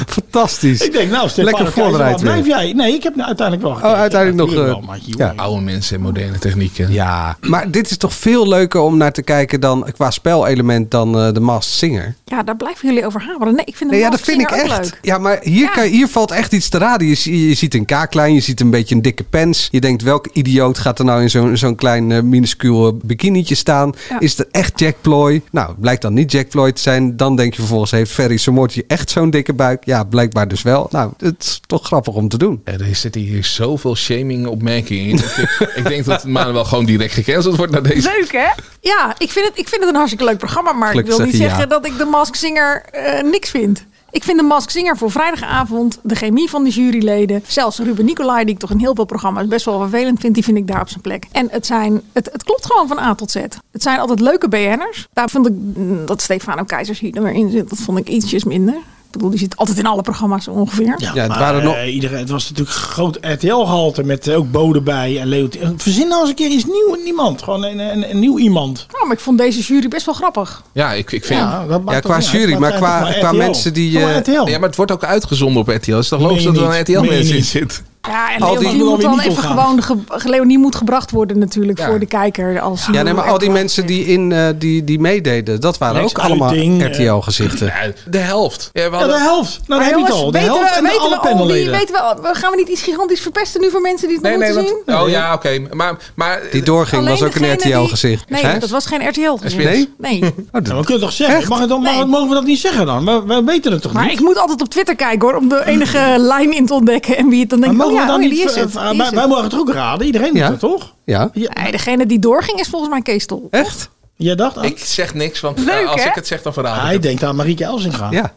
Speaker 3: Fantastisch.
Speaker 5: Ik denk, nou, Stefan,
Speaker 3: Lekker voorbereid weer.
Speaker 5: Blijf jij? Nee, ik heb nou uiteindelijk wel
Speaker 3: Oh, uiteindelijk nog. eh, ja.
Speaker 11: Oude mensen en moderne technieken.
Speaker 3: Ja, maar dit is toch veel leuker om naar te kijken dan eh, qua spelelement dan eh, de Masked Singer.
Speaker 10: Ja, daar blijven jullie over hameren. Nee, ik vind de
Speaker 3: Nee, ja, dat
Speaker 10: Masked
Speaker 3: vind ik
Speaker 10: Singer ook
Speaker 3: echt.
Speaker 10: leuk.
Speaker 3: Ja, maar hier, Kan, hier valt echt iets te raden. Je, zie- je ziet een kaaklijn, je ziet een beetje een dikke pens. Je denkt, welk idioot gaat er nou in zo'n zo'n klein eh, minuscuul bikinietje staan?
Speaker 10: Ja.
Speaker 3: Is dat echt Jack Ploy? Nou, het blijkt dan niet Jack Ploy te zijn. Dan denk je vervolgens, heeft Ferry Samortje echt zo'n dikke buik? Ja, blijkbaar dus wel. Nou, het is toch grappig om te doen.
Speaker 11: Eh, Er zit hier zoveel shaming opmerkingen in. Ik- ik denk dat Manuel gewoon direct gecanceld wordt na deze.
Speaker 10: Leuk, hè? Ja, ik vind, het, ik vind het een hartstikke leuk programma. Maar
Speaker 11: Gelukkig
Speaker 10: ik wil niet
Speaker 11: zegt hij
Speaker 10: zeggen dat ik de Mask Singer eh, niks vind. Ik vind de Mask Singer voor vrijdagavond, de chemie van de juryleden. Zelfs Ruben Nicolai, die ik toch in heel veel programma's best wel vervelend vind, die vind ik daar op zijn plek. En het, zijn, het, het klopt gewoon van A tot Z. Het zijn altijd leuke BN'ers. Daar vond ik mm, dat Stefano Keizers hier dan weer in zit, dat vond ik ietsjes minder. Ik bedoel, die zit altijd in alle programma's ongeveer.
Speaker 5: Ja, het, iedereen, het was natuurlijk groot RTL-gehalte met eh, ook Bode bij en Leo. T- Verzin nou eens een keer iets nieuw iemand. Gewoon een, een, een nieuw iemand.
Speaker 10: Nou, maar ik vond deze jury best wel grappig.
Speaker 11: Ja, ik, ik vind...
Speaker 5: Ja, dat maakt
Speaker 3: Ja,
Speaker 5: toch
Speaker 3: qua
Speaker 5: niet uit.
Speaker 3: jury,
Speaker 5: Het
Speaker 3: maar
Speaker 5: zijn
Speaker 3: qua-
Speaker 5: toch maar
Speaker 3: qua
Speaker 5: RTL.
Speaker 3: mensen die,
Speaker 5: Toch maar
Speaker 3: eh,
Speaker 5: RTL.
Speaker 11: Ja, maar het wordt ook uitgezonden op RTL. Dus dan logisch
Speaker 5: Meen
Speaker 11: dat
Speaker 5: je
Speaker 11: er een
Speaker 5: niet. Meen je
Speaker 11: RTL-mensen in
Speaker 5: niet.
Speaker 11: zit.
Speaker 10: Ja, en
Speaker 3: Al die-
Speaker 10: Leonie moet
Speaker 3: Leonie
Speaker 10: wel
Speaker 3: niet
Speaker 10: even
Speaker 3: omgaan.
Speaker 10: gewoon... Ge, Leonie moet gebracht worden natuurlijk
Speaker 3: Ja.
Speaker 10: voor de kijker. Als
Speaker 3: Ja, nee, maar al die
Speaker 10: Oh,
Speaker 3: mensen die, in, eh, die, die meededen, dat waren
Speaker 5: Lex
Speaker 3: ook allemaal
Speaker 5: Uiting, eh,
Speaker 3: RTL-gezichten.
Speaker 11: De helft. Ja, we
Speaker 5: Ja,
Speaker 11: hadden-
Speaker 5: de helft. Nou,
Speaker 10: Maar
Speaker 5: daar heb je het
Speaker 10: jongens,
Speaker 5: al. De
Speaker 10: weten
Speaker 5: helft
Speaker 10: we-
Speaker 5: en de
Speaker 10: weten
Speaker 5: alle
Speaker 10: we al die-
Speaker 5: panelleden.
Speaker 10: weten we al- gaan we niet iets gigantisch verpesten nu voor mensen die het
Speaker 11: Nee,
Speaker 10: nog
Speaker 11: nee,
Speaker 10: moeten
Speaker 11: want... Oh ja, oké. Maar, maar...
Speaker 3: Die doorging
Speaker 10: zien?
Speaker 3: was ook een
Speaker 10: Alleen degene die-
Speaker 3: RTL-gezicht.
Speaker 10: Nee, dat was geen RTL-gezicht.
Speaker 3: Nee?
Speaker 5: Ja, we kunnen toch zeggen? Mag het dan, mag- Mogen we dat niet zeggen dan? We, we weten het toch
Speaker 10: Maar
Speaker 5: niet?
Speaker 10: ik moet altijd op Twitter kijken hoor, om de enige lijn in te ontdekken en wie het dan
Speaker 5: Maar
Speaker 10: denkt.
Speaker 5: mogen
Speaker 10: oh
Speaker 5: we
Speaker 10: ja,
Speaker 5: dan
Speaker 10: oh ja,
Speaker 5: niet...
Speaker 10: die is
Speaker 5: ver- eh,
Speaker 10: het. die
Speaker 5: wij-
Speaker 10: is
Speaker 5: Wij
Speaker 10: het.
Speaker 5: mogen het ook raden. Iedereen doet
Speaker 3: Ja.
Speaker 5: het, toch?
Speaker 3: Ja.
Speaker 10: Nee, degene die doorging is volgens mij Kees Tol.
Speaker 3: Echt?
Speaker 5: Jij dacht aan?
Speaker 11: Ik zeg niks, want eh,
Speaker 10: Leuk,
Speaker 11: als
Speaker 10: hè?
Speaker 11: ik het zeg, dan verraad ik
Speaker 5: Hij
Speaker 11: het.
Speaker 5: denkt aan Marieke Elsinga.
Speaker 3: Ja.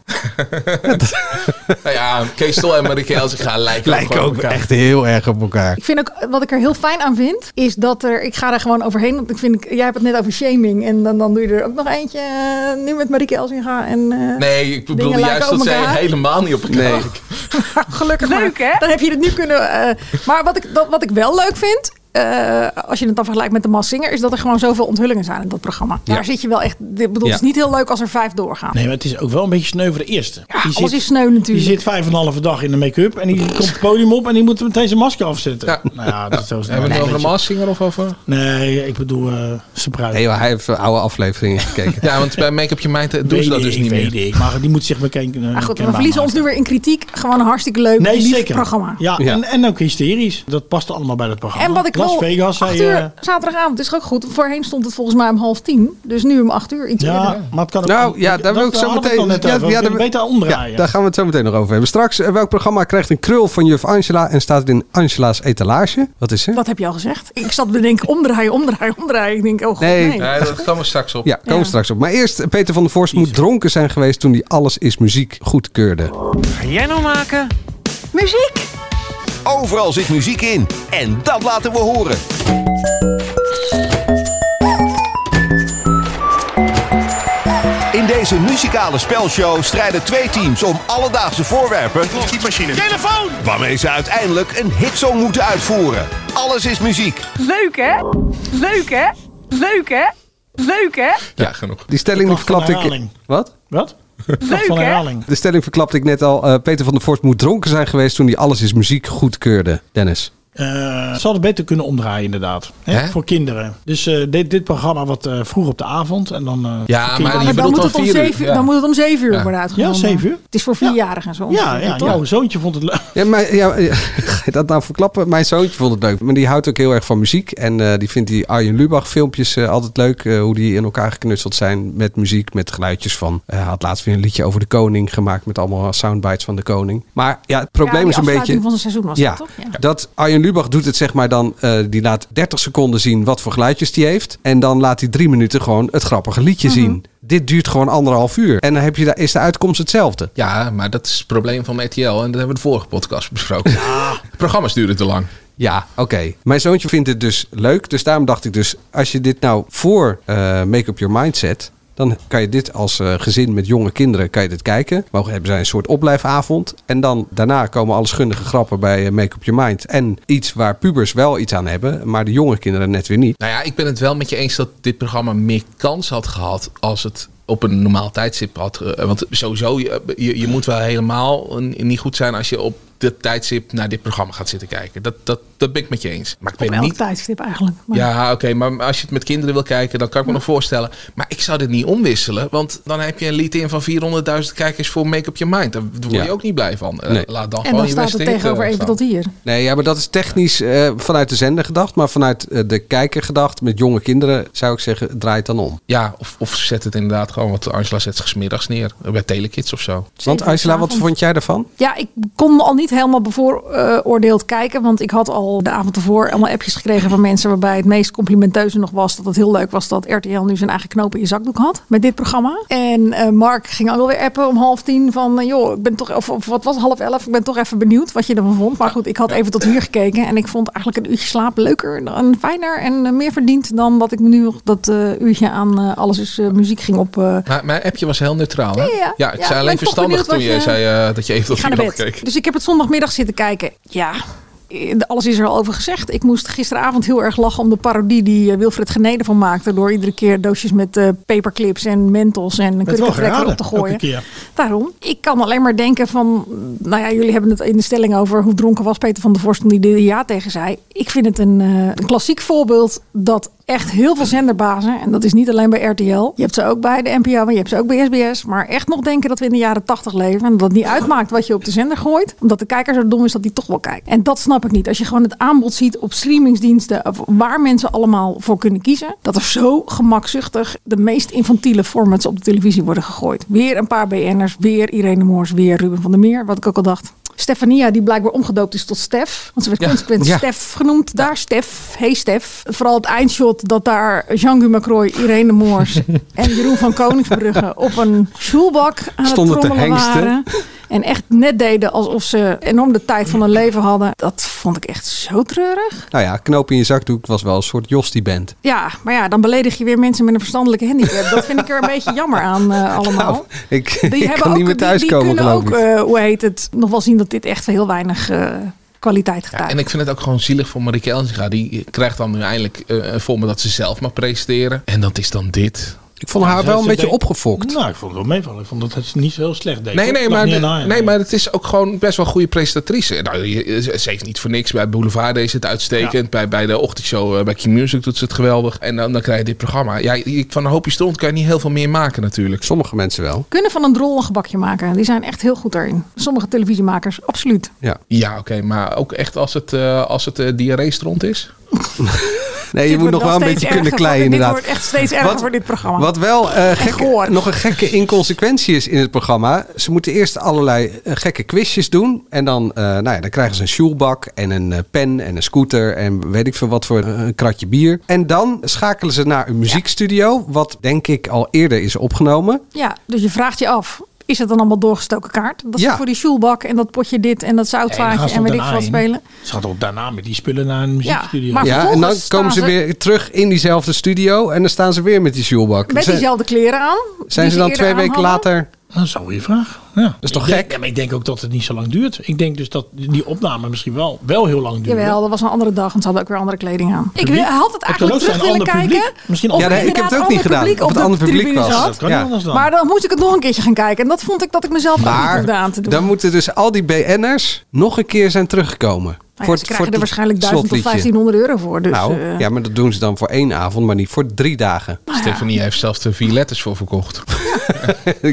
Speaker 11: Nou ja, Kees Tol en Marieke Elsinga gaan lijken,
Speaker 3: Lijken
Speaker 11: gewoon op
Speaker 3: ook
Speaker 11: elkaar.
Speaker 3: echt heel erg op elkaar.
Speaker 10: Ik vind ook, wat ik er heel fijn aan vind, is dat er, ik ga daar gewoon overheen, want ik vind, ik- jij hebt het net over shaming en dan, dan doe je er ook nog eentje, eh, nu met Marieke Elsinga en... eh,
Speaker 11: Nee, ik bedoel
Speaker 10: Dingen
Speaker 11: juist
Speaker 10: lijken
Speaker 11: dat
Speaker 10: op
Speaker 11: zij
Speaker 10: elkaar.
Speaker 11: helemaal niet op elkaar
Speaker 3: Nee.
Speaker 11: lijken.
Speaker 10: Gelukkig Leuk, hè? Dan heb je het nu kunnen... eh, maar wat ik, dat, wat ik wel leuk vind... eh, als je het dan vergelijkt met de Mass Singer... is dat er gewoon zoveel onthullingen zijn in dat programma. Daar zit je wel echt... Ik bedoel,
Speaker 5: Ja.
Speaker 10: het is niet heel leuk als er vijf doorgaan.
Speaker 5: Nee, maar het is ook wel een beetje sneu voor de eerste. Ja, die
Speaker 10: alles is sneu natuurlijk.
Speaker 5: Die zit vijf en een halve dag in de make-up en die komt het podium op en die moet meteen zijn masker afzetten.
Speaker 11: Ja.
Speaker 5: Nou ja, dat is zo snel.
Speaker 11: Hebben we het
Speaker 5: Nee,
Speaker 11: over de Massinger of over...
Speaker 5: Nee, ik bedoel eh ze bruid.
Speaker 3: Nee, joh, hij heeft oude afleveringen gekeken.
Speaker 11: Ja, want bij Make Up Je Mind eh, doen ze dat dus niet meer.
Speaker 5: weet ik, maar eh, die moet zich bekend
Speaker 10: Maar goed, we verliezen ons nu weer in kritiek. Gewoon een hartstikke leuk,
Speaker 5: Nee,
Speaker 10: lief
Speaker 5: zeker.
Speaker 10: programma.
Speaker 5: Ja, En, en ook hysterisch. Dat past allemaal bij dat programma.
Speaker 10: En wat ik
Speaker 5: Las
Speaker 10: wel...
Speaker 5: Vegas, zei eh,
Speaker 10: acht
Speaker 5: je.
Speaker 10: uur zaterdagavond is toch ook goed. Voorheen stond het volgens mij om half tien. Dus nu om acht uur iets
Speaker 5: Ja,
Speaker 10: eerder.
Speaker 5: maar het kan ook...
Speaker 3: Nou ja, daar wil ik zo meteen.
Speaker 5: ja,
Speaker 3: ja, ja, daar-
Speaker 5: beter omdraaien.
Speaker 3: ja, daar gaan we het zo meteen nog over hebben. Straks, eh, welk programma krijgt een krul van juf Angela en staat het in Angela's etalage? Wat is er?
Speaker 10: Dat heb je al gezegd. Ik zat te denken, omdraaien, omdraaien, omdraaien. Ik denk, oh god,
Speaker 3: Nee.
Speaker 10: nee.
Speaker 11: Ja, dat komen we straks op.
Speaker 3: Ja, komen we straks op. Maar eerst, Peter van der Vorst moet dronken zijn geweest toen hij Alles is Muziek goedkeurde.
Speaker 12: Ga jij nou maken?
Speaker 10: Muziek!
Speaker 13: Overal zit muziek in. En dat laten we horen. In deze muzikale spelshow strijden twee teams om alledaagse voorwerpen. Typemachine. Telefoon! Waarmee ze uiteindelijk een hitsong moeten uitvoeren. Alles is muziek.
Speaker 9: Leuk, hè? Leuk, hè? Leuk, hè? Leuk, hè?
Speaker 11: Ja, genoeg.
Speaker 3: Die stelling die
Speaker 5: Kracht van
Speaker 3: verklapte ik.
Speaker 5: herhaling.
Speaker 3: Wat?
Speaker 5: Wat? Kracht
Speaker 9: Leuk,
Speaker 5: van
Speaker 9: hè?
Speaker 5: herhaling.
Speaker 3: De stelling verklapte ik net al. eh, Peter van der Vorst moet dronken zijn geweest toen hij Alles is Muziek goedkeurde. Dennis.
Speaker 5: Eh, ze hadden beter kunnen omdraaien, inderdaad. Hè?
Speaker 3: Hè?
Speaker 5: Voor kinderen. Dus eh, dit, dit programma wat eh, vroeg op de avond. En dan, eh, voor
Speaker 11: Ja,
Speaker 5: kinderen.
Speaker 11: maar
Speaker 10: Ah, Maar
Speaker 11: je
Speaker 10: dan
Speaker 11: bedoelt
Speaker 10: moet,
Speaker 11: al
Speaker 10: het om
Speaker 11: vier uur.
Speaker 10: zeven, dan moet het om zeven uur
Speaker 11: Ja.
Speaker 10: worden uitgezonden.
Speaker 5: Ja, zeven uur.
Speaker 10: Het is voor vierjarigen zo.
Speaker 5: Ja,
Speaker 10: ongeveer,
Speaker 5: ja,
Speaker 10: toch?
Speaker 5: jouw zoontje vond het leuk.
Speaker 3: Ja, maar, ja, ja, ga je dat nou verklappen? Mijn zoontje vond het leuk. Maar die houdt ook heel erg van muziek. En eh, die vindt die Arjen Lubach filmpjes eh, altijd leuk. eh, hoe die in elkaar geknutseld zijn met muziek, met geluidjes van. eh, Hij had laatst weer een liedje over de koning gemaakt met allemaal soundbites van de koning. Maar ja, het probleem
Speaker 10: Ja, die
Speaker 3: is een beetje...
Speaker 10: afsluiting van zijn seizoen was
Speaker 3: ja,
Speaker 10: dat, toch? Ja.
Speaker 3: dat Arjen Lubach doet het zeg maar dan, eh, die laat 30 seconden zien wat voor geluidjes die heeft. En dan laat hij drie minuten gewoon het grappige
Speaker 10: Mhm.
Speaker 3: liedje zien. Dit duurt gewoon anderhalf uur. En dan heb je daar is de uitkomst hetzelfde.
Speaker 11: Ja, maar dat is het probleem van RTL. En dat hebben we de vorige podcast besproken. Programma's duren te lang.
Speaker 3: Ja, oké. Mijn zoontje vindt het dus leuk. Dus daarom dacht ik dus, als je dit nou voor eh, Make Up Your Mind zet... dan kan je dit als eh, gezin met jonge kinderen kan je dit kijken. Mogen hebben zij een soort opblijfavond. En dan daarna komen alle schundige grappen bij eh, Make Up Your Mind. En iets waar pubers wel iets aan hebben, maar de jonge kinderen net weer niet.
Speaker 11: Nou ja, ik ben het wel met je eens dat dit programma meer kans had gehad als het op een normaal tijdstip had. eh, want sowieso, je, je, je moet wel helemaal n- niet goed zijn als je op dit tijdstip naar dit programma gaat zitten kijken. Dat, dat, dat ben ik met je eens. Maar ik
Speaker 10: Op
Speaker 11: ben
Speaker 10: elk
Speaker 11: niet.
Speaker 10: tijdstip eigenlijk. Maar
Speaker 11: Ja, oké, maar als je het met kinderen wil kijken, dan kan ik me nog voorstellen. Maar ik zou dit niet omwisselen, want dan heb je een lied in van 400.000 kijkers voor Make Up Your Mind. Daar word je
Speaker 3: Ja.
Speaker 11: ook niet blij van. Eh,
Speaker 3: Nee.
Speaker 11: Laat dan
Speaker 10: en
Speaker 11: gewoon
Speaker 10: dan
Speaker 11: je
Speaker 10: staat
Speaker 11: beste
Speaker 10: het
Speaker 11: hit, eh,
Speaker 10: tegenover even
Speaker 11: staan.
Speaker 10: tot hier.
Speaker 3: Nee, ja, maar dat is technisch eh, vanuit de zender gedacht. Maar vanuit eh, de kijker gedacht, met jonge kinderen, zou ik zeggen, draai het dan om.
Speaker 11: Ja, of, of zet het inderdaad gewoon, want Angela zet zich 's middags neer. eh, Bij Telekids of zo.
Speaker 3: Want Angela, wat vond jij daarvan?
Speaker 10: Ja, ik kon al niet helemaal bevooroordeeld kijken. Want ik had al de avond ervoor allemaal appjes gekregen van mensen. waarbij het meest complimenteuze nog was. dat het heel leuk was dat RTL nu zijn eigen knoop in je zakdoek had. met dit programma. En eh, Mark ging ook wel weer appen om half tien. van eh, joh, ik ben toch. Of, of wat was het, half elf? Ik ben toch even benieuwd wat je ervan vond. Maar goed, ik had even tot hier gekeken. en ik vond eigenlijk een uurtje slaap leuker. en fijner en eh, meer verdiend. dan dat ik nu nog dat eh, uurtje aan eh, alles is eh, muziek ging op. eh,
Speaker 11: Maar mijn appje was heel neutraal, hè?
Speaker 10: Ja, ja, ja.
Speaker 11: ik
Speaker 10: Ja,
Speaker 11: zei
Speaker 10: ben
Speaker 11: alleen
Speaker 10: ik toch
Speaker 11: verstandig
Speaker 10: benieuwd
Speaker 11: toen
Speaker 10: wat
Speaker 11: je
Speaker 10: je-
Speaker 11: zei eh, dat je even tot
Speaker 10: Ik ga
Speaker 11: vier
Speaker 10: naar
Speaker 11: had
Speaker 10: bed.
Speaker 11: gekeken.
Speaker 10: Dus ik heb het zondagmiddag zitten kijken. Ja, eh, alles is er al over gezegd. Ik moest gisteravond heel erg lachen om de parodie die eh, Wilfred Geneden van maakte. Door iedere keer doosjes met eh, paperclips en mentos en een
Speaker 5: Het wel
Speaker 10: kurkentrekker
Speaker 5: geraden,
Speaker 10: op te gooien.
Speaker 5: elke keer.
Speaker 10: Daarom, ik kan alleen maar denken van... Nou ja, jullie hebben het in de stelling over hoe dronken was Peter van der Vorst... toen hij er ja tegen zei. Ik vind het een, eh, een klassiek voorbeeld dat echt heel veel zenderbazen... en dat is niet alleen bij RTL. Je hebt ze ook bij de NPO, maar je hebt ze ook bij SBS. Maar echt nog denken dat we in de jaren tachtig leven... en dat het niet uitmaakt wat je op de zender gooit... omdat de kijker zo dom is dat hij toch wel kijkt. En dat snap ik niet. Als je gewoon het aanbod ziet op streamingsdiensten... of waar mensen allemaal voor kunnen kiezen... dat er zo gemakzuchtig de meest infantiele formats op de televisie worden gegooid. Weer een paar BN'ers, weer Irene Moors, weer Ruben van der Meer, wat ik ook al dacht. Stefania, die blijkbaar omgedoopt is tot Stef. Want ze werd
Speaker 9: Ja,
Speaker 10: consequent
Speaker 9: ja.
Speaker 10: Stef genoemd. Daar Stef, hey Stef. Vooral het eindshot dat daar Jean-Guy Macroy, Irene Moors en Jeroen van Koningsbrugge op een schoelbak aan
Speaker 3: Stonden
Speaker 10: het
Speaker 3: te
Speaker 10: trommelen
Speaker 3: hengsten.
Speaker 10: waren. En echt net deden alsof ze enorm de tijd van hun leven hadden. Dat vond ik echt zo treurig.
Speaker 3: Nou ja, knoop in je zakdoek was wel een soort Jostie-band.
Speaker 10: Ja, maar ja, dan beledig je weer mensen met een verstandelijke handicap. Dat vind ik er een beetje jammer aan eh, allemaal.
Speaker 3: Ik,
Speaker 10: die
Speaker 3: ik
Speaker 10: hebben
Speaker 3: Nou, kan
Speaker 10: ook,
Speaker 3: niet meer
Speaker 10: die-
Speaker 3: thuiskomen,
Speaker 10: die, kunnen
Speaker 3: geloof
Speaker 10: ook,
Speaker 3: ik.
Speaker 10: eh, hoe heet het, nog wel zien dat dit echt heel weinig eh, kwaliteit getuigt.
Speaker 11: En ik vind het ook gewoon zielig voor Marieke Elsinga. Die krijgt dan nu eindelijk eh, een format dat ze zelf mag presenteren. En dat is dan dit.
Speaker 3: Ik vond haar wel
Speaker 5: Ze heeft
Speaker 3: een
Speaker 5: het
Speaker 3: beetje
Speaker 5: denk-
Speaker 10: Hmm?
Speaker 3: opgefokt.
Speaker 5: Nou, ik vond het wel meevallen. Ik vond dat het niet zo heel slecht deed.
Speaker 11: Nee,
Speaker 5: hoor.
Speaker 11: nee
Speaker 5: Ik dacht
Speaker 11: maar,
Speaker 5: niet
Speaker 11: de-
Speaker 5: aan haar.
Speaker 11: nee, maar het is ook gewoon best wel een goede presentatrice. Nou, je- ze ze heeft niet voor niks. Bij Boulevard deed ze het uitstekend. Bij, bij de ochtendshow, eh, bij Q Music doet ze het geweldig. En dan, dan krijg je dit programma. Ja, je- van een hoopje stront kan je niet heel veel meer maken natuurlijk.
Speaker 3: Sommige mensen wel.
Speaker 10: Kunnen van een drol een gebakje maken. Die zijn echt heel goed daarin. Sommige televisiemakers, absoluut.
Speaker 3: Ja,
Speaker 11: ja oké. maar ook echt als het, eh als het eh, diarree stront is?
Speaker 3: Nee, je
Speaker 10: Dit
Speaker 3: moet nog
Speaker 10: wordt
Speaker 3: wel een
Speaker 10: steeds
Speaker 3: beetje kunnen
Speaker 10: erger voor-
Speaker 3: kleien, inderdaad.
Speaker 10: Dit wordt echt steeds erger
Speaker 3: Wat-
Speaker 10: voor dit programma.
Speaker 3: Wat wel eh, gek- nog een gekke inconsequentie is in het programma. Ze moeten eerst allerlei eh, gekke quizjes doen. En dan, eh, nou ja, dan krijgen ze een sjoelbak en een eh, pen en een scooter en weet ik veel wat voor eh, een kratje bier. En dan schakelen ze naar een muziekstudio, wat denk ik al eerder is opgenomen.
Speaker 10: Ja, dus je vraagt je af. Is het dan allemaal doorgestoken kaart? Dat
Speaker 3: Ja.
Speaker 10: ze voor die schoelbak en dat potje dit en dat
Speaker 5: Nee, dan gaan
Speaker 10: zoutvaatje
Speaker 5: ze
Speaker 10: en weet ik
Speaker 5: daarna
Speaker 10: wat
Speaker 5: heen.
Speaker 10: spelen.
Speaker 5: Ze gaat ook daarna met die spullen naar een muziekstudio.
Speaker 10: maar
Speaker 3: ja, en dan
Speaker 10: vervolgens
Speaker 3: komen ze
Speaker 10: staan ze-
Speaker 3: weer terug in diezelfde studio en dan staan ze weer met die sjoelbak.
Speaker 10: Met
Speaker 3: Zijn-
Speaker 10: diezelfde kleren aan.
Speaker 3: zijn
Speaker 10: die
Speaker 3: ze dan
Speaker 10: eerder
Speaker 3: twee
Speaker 10: aan
Speaker 3: weken
Speaker 10: hadden.
Speaker 3: later...
Speaker 5: Dat is een goede vraag. Ja. Dat
Speaker 3: is toch gek?
Speaker 5: maar ik denk ook dat het niet zo lang duurt. Ik denk dus dat die opname misschien wel, wel heel lang duurt.
Speaker 10: Jawel, dat was een andere dag, want ze hadden ook weer andere kleding aan. Ik wil-
Speaker 5: Publiek?
Speaker 10: had het
Speaker 5: Het kan
Speaker 10: eigenlijk
Speaker 5: ook
Speaker 10: terug
Speaker 5: zijn
Speaker 10: willen
Speaker 5: ander
Speaker 10: kijken.
Speaker 5: publiek. Misschien
Speaker 10: of
Speaker 3: Ja,
Speaker 10: er
Speaker 3: nee, ik heb het
Speaker 10: inderdaad
Speaker 3: ook niet
Speaker 10: ander
Speaker 3: gedaan.
Speaker 10: publiek
Speaker 3: Of
Speaker 10: op
Speaker 3: het
Speaker 10: de
Speaker 3: ander publiek
Speaker 10: tribune
Speaker 3: was.
Speaker 10: zat.
Speaker 3: Dat kan Ja. anders dan.
Speaker 10: Maar dan moest ik het nog een keertje gaan kijken. En dat vond ik dat ik mezelf ook niet hoefde aan
Speaker 3: Maar
Speaker 10: te doen.
Speaker 3: dan moeten dus al die BN'ers nog een keer zijn teruggekomen.
Speaker 10: Nou ja, ze krijgen er
Speaker 3: het
Speaker 10: waarschijnlijk 1000 tot
Speaker 3: slotliedje.
Speaker 10: 1500 euro voor. Dus,
Speaker 3: nou,
Speaker 10: eh,
Speaker 3: ja, maar dat doen ze dan voor één avond, maar niet voor drie dagen.
Speaker 10: Nou ja. Stefanie
Speaker 11: heeft zelfs er vier letters voor verkocht.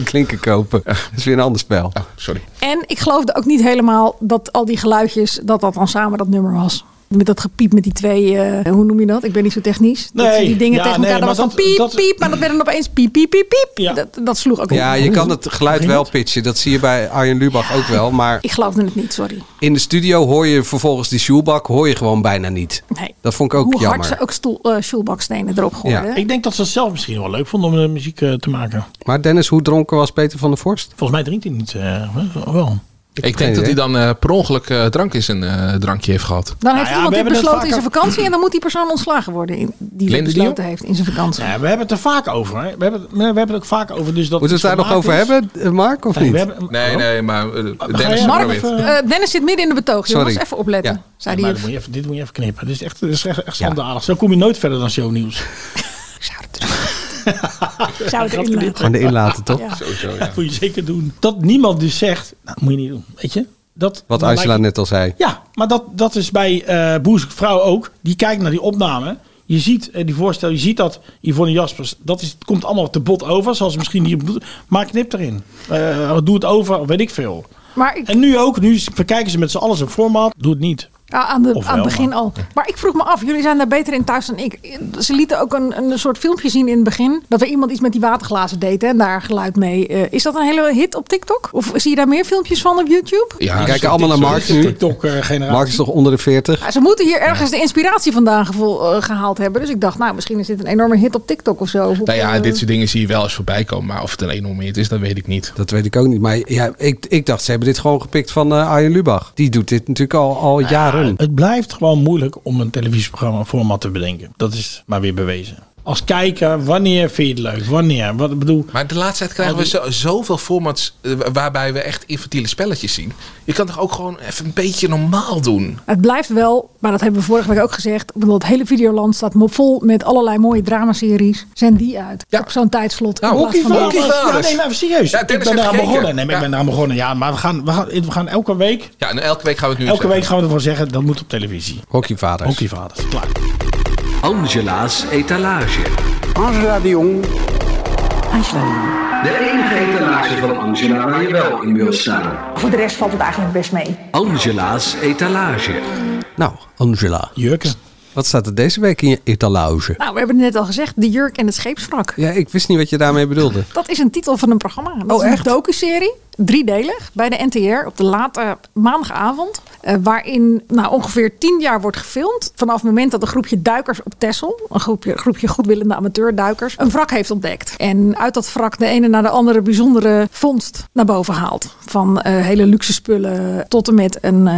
Speaker 3: Klinken kopen. Dat is weer een ander spel.
Speaker 11: sorry.
Speaker 10: En ik geloofde ook niet helemaal dat al die geluidjes, dat dat dan samen dat nummer was. Met dat gepiep met die twee, eh, hoe noem je dat? Ik ben niet zo technisch. dat
Speaker 5: Nee,
Speaker 10: ze die dingen
Speaker 5: ja,
Speaker 10: tegen
Speaker 5: nee,
Speaker 10: elkaar,
Speaker 5: maar
Speaker 10: dat was
Speaker 5: dat-
Speaker 10: dan piep,
Speaker 5: dat-
Speaker 10: piep. Maar dat werd dan opeens piep, piep, piep, piep. Dat, dat sloeg ook
Speaker 3: Ja,
Speaker 10: op.
Speaker 3: je kan het geluid wel pitchen. Dat zie je bij Arjen Lubach ook wel. Maar
Speaker 10: Ik geloofde het niet, sorry.
Speaker 3: in de studio hoor je vervolgens die sjoelbak hoor je gewoon bijna niet.
Speaker 10: Nee.
Speaker 3: Dat vond ik ook
Speaker 10: hoe hard
Speaker 3: jammer.
Speaker 10: ze ook stoel, eh, stoelbakstenen erop gooiden. hè?
Speaker 5: Ik denk dat ze het zelf misschien wel leuk vonden om eh, muziek eh, te maken.
Speaker 3: Maar Dennis, hoe dronken was Peter van der Vorst?
Speaker 5: Volgens mij drinkt hij niet eh, wel.
Speaker 11: Ik denk dat hij dan eh, per ongeluk eh, drank in zijn eh, drankje heeft gehad.
Speaker 10: Dan heeft
Speaker 5: Nou ja,
Speaker 10: iemand
Speaker 5: we
Speaker 10: dit
Speaker 5: hebben het
Speaker 10: besloten in
Speaker 5: vaker-
Speaker 10: zijn vakantie en dan moet die persoon ontslagen worden in, die dit
Speaker 5: Linde Dion?
Speaker 10: besloten heeft in zijn vakantie.
Speaker 5: Ja, we hebben het er vaak over. Hè. We, hebben, het- we hebben het ook vaak over. Dus dat
Speaker 3: Moeten we het daar nog over hebben, eh, Mark, of
Speaker 5: Nee, we
Speaker 3: niet?
Speaker 5: hebben-
Speaker 11: Nee, nee, maar eh,
Speaker 5: jij
Speaker 11: Dennis
Speaker 5: maar
Speaker 11: probeert.
Speaker 5: even-
Speaker 10: Eh, Dennis zit midden in de betoog,
Speaker 11: Sorry.
Speaker 10: jongens. Even opletten, zei
Speaker 5: Maar
Speaker 10: hij.
Speaker 5: dit moet je even, dit moet je even knippen. Dit is echt, dit is echt, echt schandalig. Zo kom je nooit verder dan shownieuws.
Speaker 10: Zou het erin laten.
Speaker 3: Gewoon erin laten, toch?
Speaker 10: Ja.
Speaker 11: Sowieso,
Speaker 5: Dat moet je zeker doen. Dat niemand dus zegt, nou, moet je niet doen. Weet je? Dat,
Speaker 3: Wat
Speaker 5: dat
Speaker 3: Angela
Speaker 5: lijkt-
Speaker 3: net al zei.
Speaker 5: Ja, maar dat, dat is bij eh Boer zoekt Vrouw ook. Die kijkt naar die opname. Je ziet eh, die voorstel, je ziet dat Yvonne Jaspers, dat is, het komt allemaal te bot over, zoals ze misschien niet op doet. Maar knip erin. Eh, doe het over, weet ik veel.
Speaker 10: Maar ik,
Speaker 5: En nu ook, nu verkijken ze met z'n allen zijn format. Doe het niet.
Speaker 10: Ja, aan, de,
Speaker 5: Of
Speaker 10: aan het
Speaker 5: wel,
Speaker 10: begin
Speaker 5: maar-
Speaker 10: al. Maar ik vroeg me af, jullie zijn daar beter in thuis dan ik. Ze lieten ook een, een soort filmpje zien in het begin. Dat er iemand iets met die waterglazen deed hè, en daar geluid mee. Eh, is dat een hele hit op TikTok? Of zie je daar meer filmpjes van op YouTube?
Speaker 3: Ja, Die kijken allemaal naar Mark nu.
Speaker 11: eh,
Speaker 5: TikTok-generatie.
Speaker 3: Mark is toch onder de 40?
Speaker 10: Ja, ze moeten hier ergens de inspiratie vandaan gevo- eh, gehaald hebben. Dus ik dacht, nou, misschien is dit een enorme hit op TikTok of zo.
Speaker 11: Nou ja,
Speaker 10: Eh,
Speaker 11: dit soort dingen zie je wel eens voorbij komen. Maar of het een enorme hit is, dat weet ik niet.
Speaker 3: Dat weet ik ook niet. Maar ja, ik, ik dacht, ze hebben dit gewoon gepikt van eh, Arjen Lubach. Die doet dit natuurlijk al, al jaren.
Speaker 5: Het blijft gewoon moeilijk om een televisieprogramma een format te bedenken. Dat is maar weer bewezen. Als kijker, wanneer vind je het leuk? Wanneer? Wat ik bedoel.
Speaker 11: Maar de laatste tijd krijgen we zo, zoveel formats eh, waarbij we echt infantiele spelletjes zien. Je kan toch ook gewoon even een beetje normaal doen?
Speaker 10: Het blijft wel, maar dat hebben we vorige week ook gezegd. Ik bedoel, het hele Videoland staat mo- vol met allerlei mooie dramaseries. Zend die uit. Op zo'n tijdslot.
Speaker 11: Nou,
Speaker 10: in plaats van-
Speaker 5: Ja, nee, maar even serieus.
Speaker 11: Ja,
Speaker 5: ik
Speaker 11: Dennis
Speaker 5: ben
Speaker 11: heeft
Speaker 5: eraan
Speaker 11: gekeken.
Speaker 5: begonnen. Nee, maar ik ben eraan begonnen. Ja, maar we gaan, we gaan, we gaan elke week.
Speaker 11: Ja, en elke week gaan we het nu
Speaker 5: Elke
Speaker 11: zeggen.
Speaker 5: week gaan we ervan zeggen dat moet op televisie.
Speaker 3: Hockeyvaders.
Speaker 5: Hockeyvaders. Klaar.
Speaker 12: Angela's etalage.
Speaker 14: Angela de Jong.
Speaker 12: De enige etalage van Angela waar je wel in wil staan.
Speaker 9: Voor de rest valt het eigenlijk best mee.
Speaker 12: Angela's etalage.
Speaker 3: Nou, Angela.
Speaker 5: Jurken.
Speaker 3: Wat staat er deze week in je etalage?
Speaker 10: Nou, we hebben het net al gezegd. De jurk en het scheepswrak.
Speaker 3: Ja, ik wist niet wat je daarmee bedoelde.
Speaker 10: Dat is een titel van een programma. Dat is een docuserie, driedelig, bij de NTR op de late maandagavond. eh, waarin nou, ongeveer tien jaar wordt gefilmd. Vanaf het moment dat een groepje duikers op Texel, een groepje, groepje goedwillende amateurduikers, een wrak heeft ontdekt. En uit dat wrak de ene naar de andere bijzondere vondst naar boven haalt. Van eh, hele luxe spullen tot en met een, eh,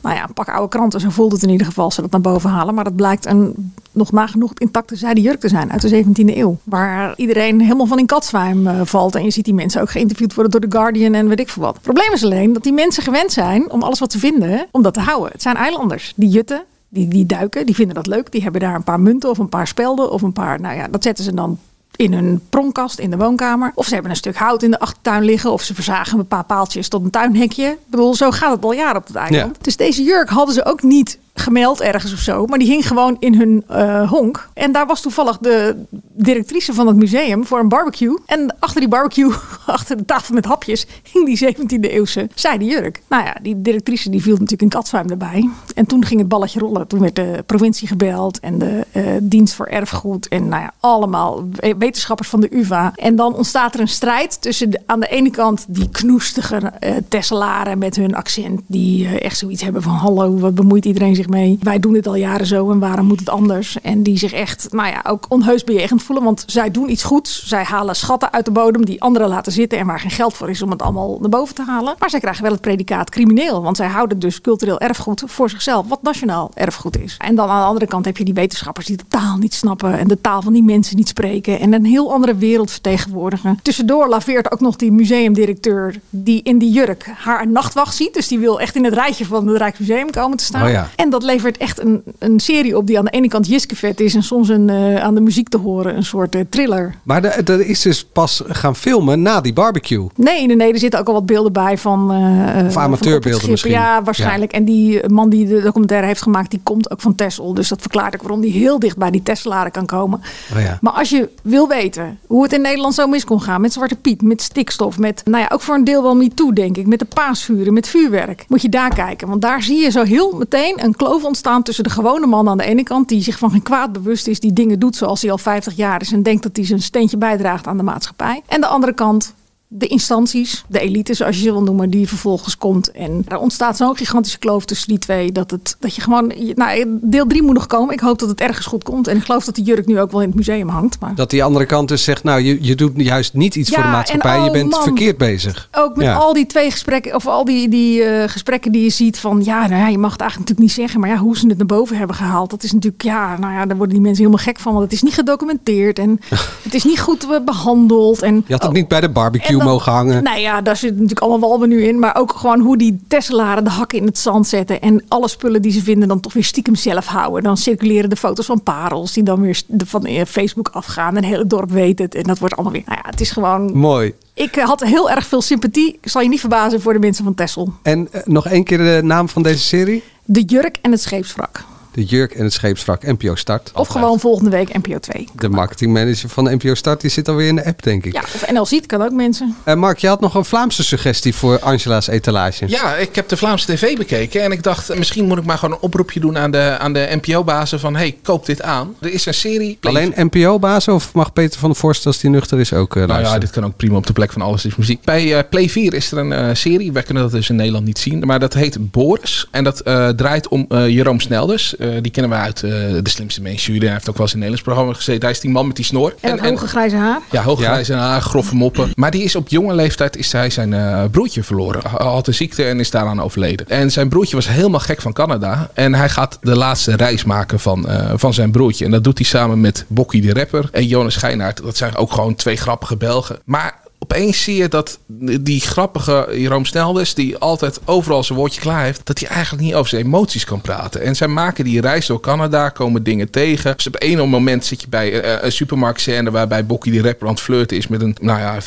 Speaker 10: nou ja, een pak oude kranten. Zo voelt het in ieder geval, ze dat naar boven halen. Maar dat blijkt een nog nagenoeg intacte zijden jurk te zijn uit de 17e eeuw. Waar iedereen helemaal van in katzwijm eh, valt. En je ziet die mensen ook geïnterviewd worden door The Guardian en weet ik veel wat. Het probleem is alleen dat die mensen gewend zijn om alles wat ze vinden, om dat te houden. Het zijn eilanders. Die jutten, die, die duiken, die vinden dat leuk. Die hebben daar een paar munten of een paar spelden of een paar... Nou ja, dat zetten ze dan in hun promkast in de woonkamer. Of ze hebben een stuk hout in de achtertuin liggen. Of ze verzagen een paar paaltjes tot een tuinhekje. Ik bedoel, zo gaat het al jaren op het eiland.
Speaker 9: Ja.
Speaker 10: Dus deze jurk hadden ze ook niet gemeld ergens of zo. Maar die hing gewoon in hun eh, honk. En daar was toevallig de directrice van het museum voor een barbecue. En achter die barbecue, achter de tafel met hapjes, hing die 17e eeuwse zijden jurk. Nou ja, die directrice die viel natuurlijk in katzwijm erbij. En toen ging het balletje rollen. Toen werd de provincie gebeld en de eh, dienst voor erfgoed. En nou ja, allemaal we- wetenschappers van de UvA. En dan ontstaat er een strijd tussen de- aan de ene kant die knoestige eh Tesselaren met hun accent. Die eh, echt zoiets hebben van hallo, wat bemoeit iedereen zich mee? Wij doen dit al jaren zo en waarom moet het anders? En die zich echt, nou ja, ook onheus bejegend voelen. Want zij doen iets goeds. Zij halen schatten uit de bodem die anderen laten zitten. En waar geen geld voor is om het allemaal naar boven te halen. Maar zij krijgen wel het predicaat crimineel. Want zij houden dus cultureel erfgoed voor zichzelf. Wat nationaal erfgoed is. En dan aan de andere kant heb je die wetenschappers die de taal niet snappen. En de taal van die mensen niet spreken. En een heel andere wereld vertegenwoordigen. Tussendoor laveert ook nog die museumdirecteur. Die in die jurk haar nachtwacht ziet. Dus die wil echt in het rijtje van het Rijksmuseum komen te staan.
Speaker 9: Oh ja.
Speaker 10: En dat levert echt een, een serie op die aan de ene kant Jiskevet is. En soms een, eh, aan de muziek te horen een soort eh, thriller.
Speaker 3: Maar de- dat is dus pas gaan filmen na die barbecue.
Speaker 10: Nee, nee, nee, er zitten ook al wat beelden bij van. eh, van op het
Speaker 3: amateurbeelden
Speaker 10: schip.
Speaker 3: misschien.
Speaker 10: Ja, waarschijnlijk. En die man die de documentaire heeft gemaakt, die komt ook van Texel. Dus dat verklaart ook waarom die heel dicht bij die Tesselaren kan komen.
Speaker 3: Oh ja.
Speaker 10: Maar als je wil weten hoe het in Nederland zo mis kon gaan met Zwarte Piet, met stikstof, met, nou ja, ook voor een deel wel niet toe, denk ik, met de paasvuren, met vuurwerk, moet je daar kijken. Want daar zie je zo heel meteen een kloof ontstaan tussen de gewone man aan de ene kant, die zich van geen kwaad bewust is, die dingen doet zoals hij al 50 jaar is en denkt dat hij zijn steentje bijdraagt aan de maatschappij. En de andere kant, de instanties, de elite zoals je ze wil noemen, die vervolgens komt. En er ontstaat zo'n gigantische kloof tussen die twee. Dat, het, dat je gewoon. je- Nou, deel 3 moet nog komen. Ik hoop dat het ergens goed komt. En ik geloof dat de jurk nu ook wel in het museum hangt. Maar
Speaker 3: Dat die andere kant dus zegt, nou, je, je doet juist niet iets
Speaker 10: Ja,
Speaker 3: voor de maatschappij.
Speaker 10: en
Speaker 3: je
Speaker 10: oh
Speaker 3: bent
Speaker 10: man.
Speaker 3: verkeerd bezig.
Speaker 10: ook met
Speaker 3: Ja.
Speaker 10: al die twee gesprekken, of al die, die eh, gesprekken die je ziet van ja, nou ja, je mag het eigenlijk natuurlijk niet zeggen, maar ja, hoe ze het naar boven hebben gehaald, dat is natuurlijk, ja, nou ja, daar worden die mensen helemaal gek van, want het is niet gedocumenteerd en het is niet goed eh, behandeld. En
Speaker 3: Je had het niet bij de barbecue
Speaker 10: dat-
Speaker 3: mogen hangen.
Speaker 10: Nou ja, daar zit natuurlijk allemaal walmen nu in. Maar ook gewoon hoe die Tesselaren de hakken in het zand zetten. En alle spullen die ze vinden dan toch weer stiekem zelf houden. Dan circuleren de foto's van parels die dan weer s- de- van eh, Facebook afgaan. En het hele dorp weet het. En dat wordt allemaal weer... Nou ja, het is gewoon...
Speaker 3: Mooi.
Speaker 10: Ik eh, had heel erg veel sympathie. Ik zal je niet verbazen voor de mensen van Tessel.
Speaker 3: En eh, nog één keer de naam van deze serie?
Speaker 10: De jurk en het scheepswrak.
Speaker 3: De Jurk en het Scheepswrak, NPO Start.
Speaker 10: Of gewoon volgende week NPO 2.
Speaker 3: De marketingmanager van NPO Start, die zit alweer in de app, denk ik.
Speaker 10: Ja, of NL Ziet kan ook mensen.
Speaker 3: Eh, Mark, je had nog een Vlaamse suggestie voor Angela's etalage.
Speaker 11: Ja, ik heb de Vlaamse tv bekeken en ik dacht, eh, misschien moet ik maar gewoon een oproepje doen aan de, aan de NPO-bazen van, hey, koop dit aan. Er is een serie.
Speaker 3: Alleen NPO-bazen of mag Peter van der Vorst, als die nuchter is, ook eh,
Speaker 11: Nou ja,
Speaker 3: luisteren?
Speaker 11: dit kan ook prima op de plek van Alles is Muziek. Bij eh, Play 4 is er een eh, serie. Wij kunnen dat dus in Nederland niet zien. Maar dat heet Boris. En dat eh, draait om eh, Jeroen Snelders. Eh, die kennen we uit eh, De Slimste Mens Jury. Hij heeft ook wel eens in een Nederlands programma gezeten. Hij is die man met die snor.
Speaker 10: En, het hoge grijze haar.
Speaker 11: Ja, hooggrijze haar, grove moppen. Maar die is op jonge leeftijd is hij zijn eh, broertje verloren. Hij had een ziekte en is daaraan overleden. En zijn broertje was helemaal gek van Canada. En hij gaat de laatste reis maken van, eh, van zijn broertje. En dat doet hij samen met Bokkie de Rapper en Jonas Schijnaert. Dat zijn ook gewoon twee grappige Belgen. Maar opeens zie je dat die grappige Jeroen Snelders... die altijd overal zijn woordje klaar heeft... dat hij eigenlijk niet over zijn emoties kan praten. En zij maken die reis door Canada, komen dingen tegen. Dus op één moment zit je bij eh, een supermarktscène... waarbij Bokkie de rapper aan het flirten is... met een nou ja,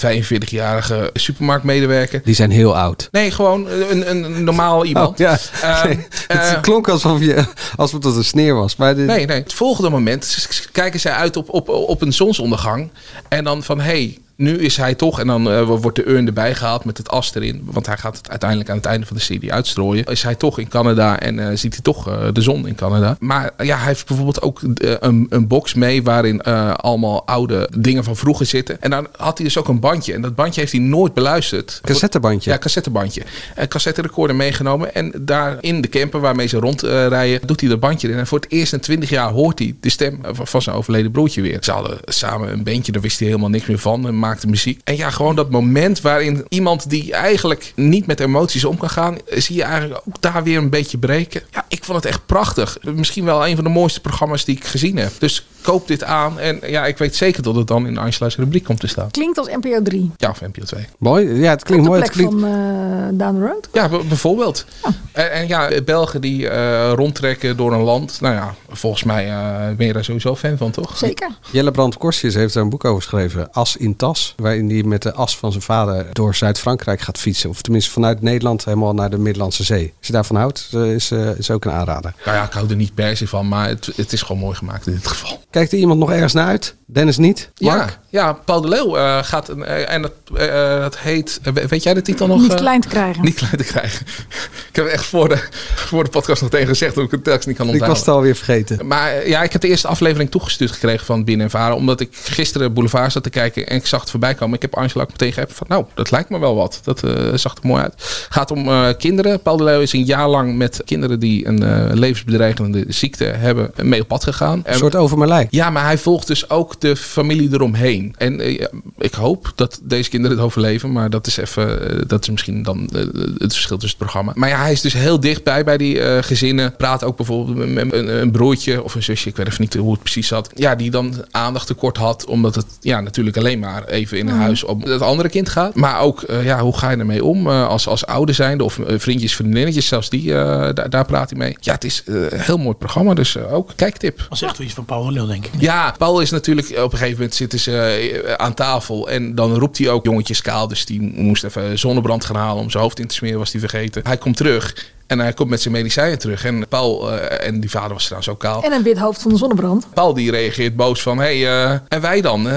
Speaker 11: 45-jarige supermarktmedewerker.
Speaker 3: Die zijn heel oud.
Speaker 11: Nee, gewoon een, een, een normaal iemand.
Speaker 3: Oh, ja.
Speaker 11: Ehm,
Speaker 3: Nee,
Speaker 11: eh,
Speaker 3: het klonk alsof, je, alsof dat een sneer was. Maar dit-
Speaker 11: Nee, nee. Het volgende moment s- s- kijken zij uit op, op, op een zonsondergang. En dan van, hé, hey, nu is hij toch. En dan eh, wordt de urn erbij gehaald met het as erin. Want hij gaat het uiteindelijk aan het einde van de serie uitstrooien. Is hij toch in Canada en eh, ziet hij toch eh, de zon in Canada. Maar eh, ja, hij heeft bijvoorbeeld ook eh, een, een box mee waarin eh, allemaal oude dingen van vroeger zitten. En dan had hij dus ook een bandje. En dat bandje heeft hij nooit beluisterd.
Speaker 3: Cassettebandje?
Speaker 11: Ja, cassettebandje. Een cassetterecorder meegenomen. En daar in de camper waarmee ze rondrijden, doet hij dat bandje in. En voor het eerst in 20 jaar hoort hij de stem eh, van van zijn overleden broertje weer. Ze hadden samen een bandje, daar wist hij helemaal niks meer van. En maakte muziek. En ja, gewoon dat moment waarin iemand die eigenlijk niet met emoties om kan gaan, eh, zie je eigenlijk ook daar weer een beetje breken. Ja, ik vond het echt prachtig. Misschien wel een van de mooiste programma's die ik gezien heb. Dus koop dit aan. En ja, ik weet zeker dat het dan in Angela's rubriek komt te staan.
Speaker 10: Klinkt als NPO 3.
Speaker 11: Ja, of NPO 2.
Speaker 3: Mooi. Ja, het klinkt
Speaker 10: Op de
Speaker 3: mooi. Het
Speaker 10: plek
Speaker 3: klinkt...
Speaker 10: van eh, Down the Road.
Speaker 11: Ja, b- bijvoorbeeld. En, en ja, Belgen die eh, rondtrekken door een land. Nou ja, volgens mij eh, ben je daar sowieso fan van, toch?
Speaker 10: Zeker.
Speaker 3: Jelle Brand Korsjes heeft daar een boek over geschreven. As in tas. Waarin hij met de as van zijn vader door Zuid-Frankrijk gaat fietsen. Of tenminste vanuit Nederland helemaal naar de Middellandse Zee. Als je daarvan houdt, eh, is, eh, is ook een aanrader.
Speaker 11: Nou ja, ik hou er niet per se van, maar het, het is gewoon mooi gemaakt in dit geval.
Speaker 3: Kijkt er iemand nog ergens naar uit? Dennis niet? Mark?
Speaker 11: Ja, ja, Paul de Leeuw eh, gaat een, eh, en dat, eh, dat heet, eh, weet jij de titel nog?
Speaker 10: Niet
Speaker 11: eh?
Speaker 10: klein te krijgen.
Speaker 11: Niet klein te krijgen. ik heb echt voor de, voor de podcast nog tegen gezegd hoe ik het telkens niet kan
Speaker 3: Ik
Speaker 11: onthouden.
Speaker 3: was het alweer vergeten.
Speaker 11: Maar eh, ja, ik heb de eerste aflevering toegestuurd gekregen van Binnen en Varen. Omdat ik gisteren Boulevard zat te kijken en ik zag het voorbij komen. Ik heb Angela ook meteen geappt van nou, dat lijkt me wel wat. Dat eh, zag er mooi uit. gaat om eh, kinderen. Paul de Leeuw is een jaar lang met kinderen die een eh, levensbedreigende ziekte hebben mee op pad gegaan.
Speaker 3: Een soort over mijn lijn.
Speaker 11: Ja, maar hij volgt dus ook de familie eromheen. En eh, ja, ik hoop dat deze kinderen het overleven. Maar dat is even. eh, dat is misschien dan eh, het verschil tussen het programma. Maar ja, hij is dus heel dichtbij bij die eh, gezinnen. Praat ook bijvoorbeeld met een, een broertje of een zusje. Ik weet even niet hoe het precies zat. Ja, die dan aandacht tekort had. Omdat het ja, natuurlijk alleen maar even in een
Speaker 3: Mhm.
Speaker 11: huis om het andere kind gaat. Maar ook, eh, ja, hoe ga je ermee om eh, als, als ouder zijnde? Of eh, vriendjes, vriendinnetjes, zelfs die. eh, daar, daar praat hij mee. Ja, het is eh, een heel mooi programma. Dus eh, ook kijktip.
Speaker 5: Dat is echt wel iets van Paul de Leeuw, denk ik.
Speaker 11: Ja, Paul is natuurlijk op een gegeven moment zitten ze eh, aan tafel en dan roept hij ook jongetjes kaal. Dus die moest even zonnebrand gaan halen om zijn hoofd in te smeren, was hij vergeten. Hij komt terug en hij komt met zijn medicijnen terug. En Paul eh, en die vader was trouwens ook
Speaker 3: Oh.
Speaker 11: kaal.
Speaker 10: En een wit hoofd van de zonnebrand.
Speaker 11: Paul die reageert boos van, hé, hey, eh, en wij dan? Eh,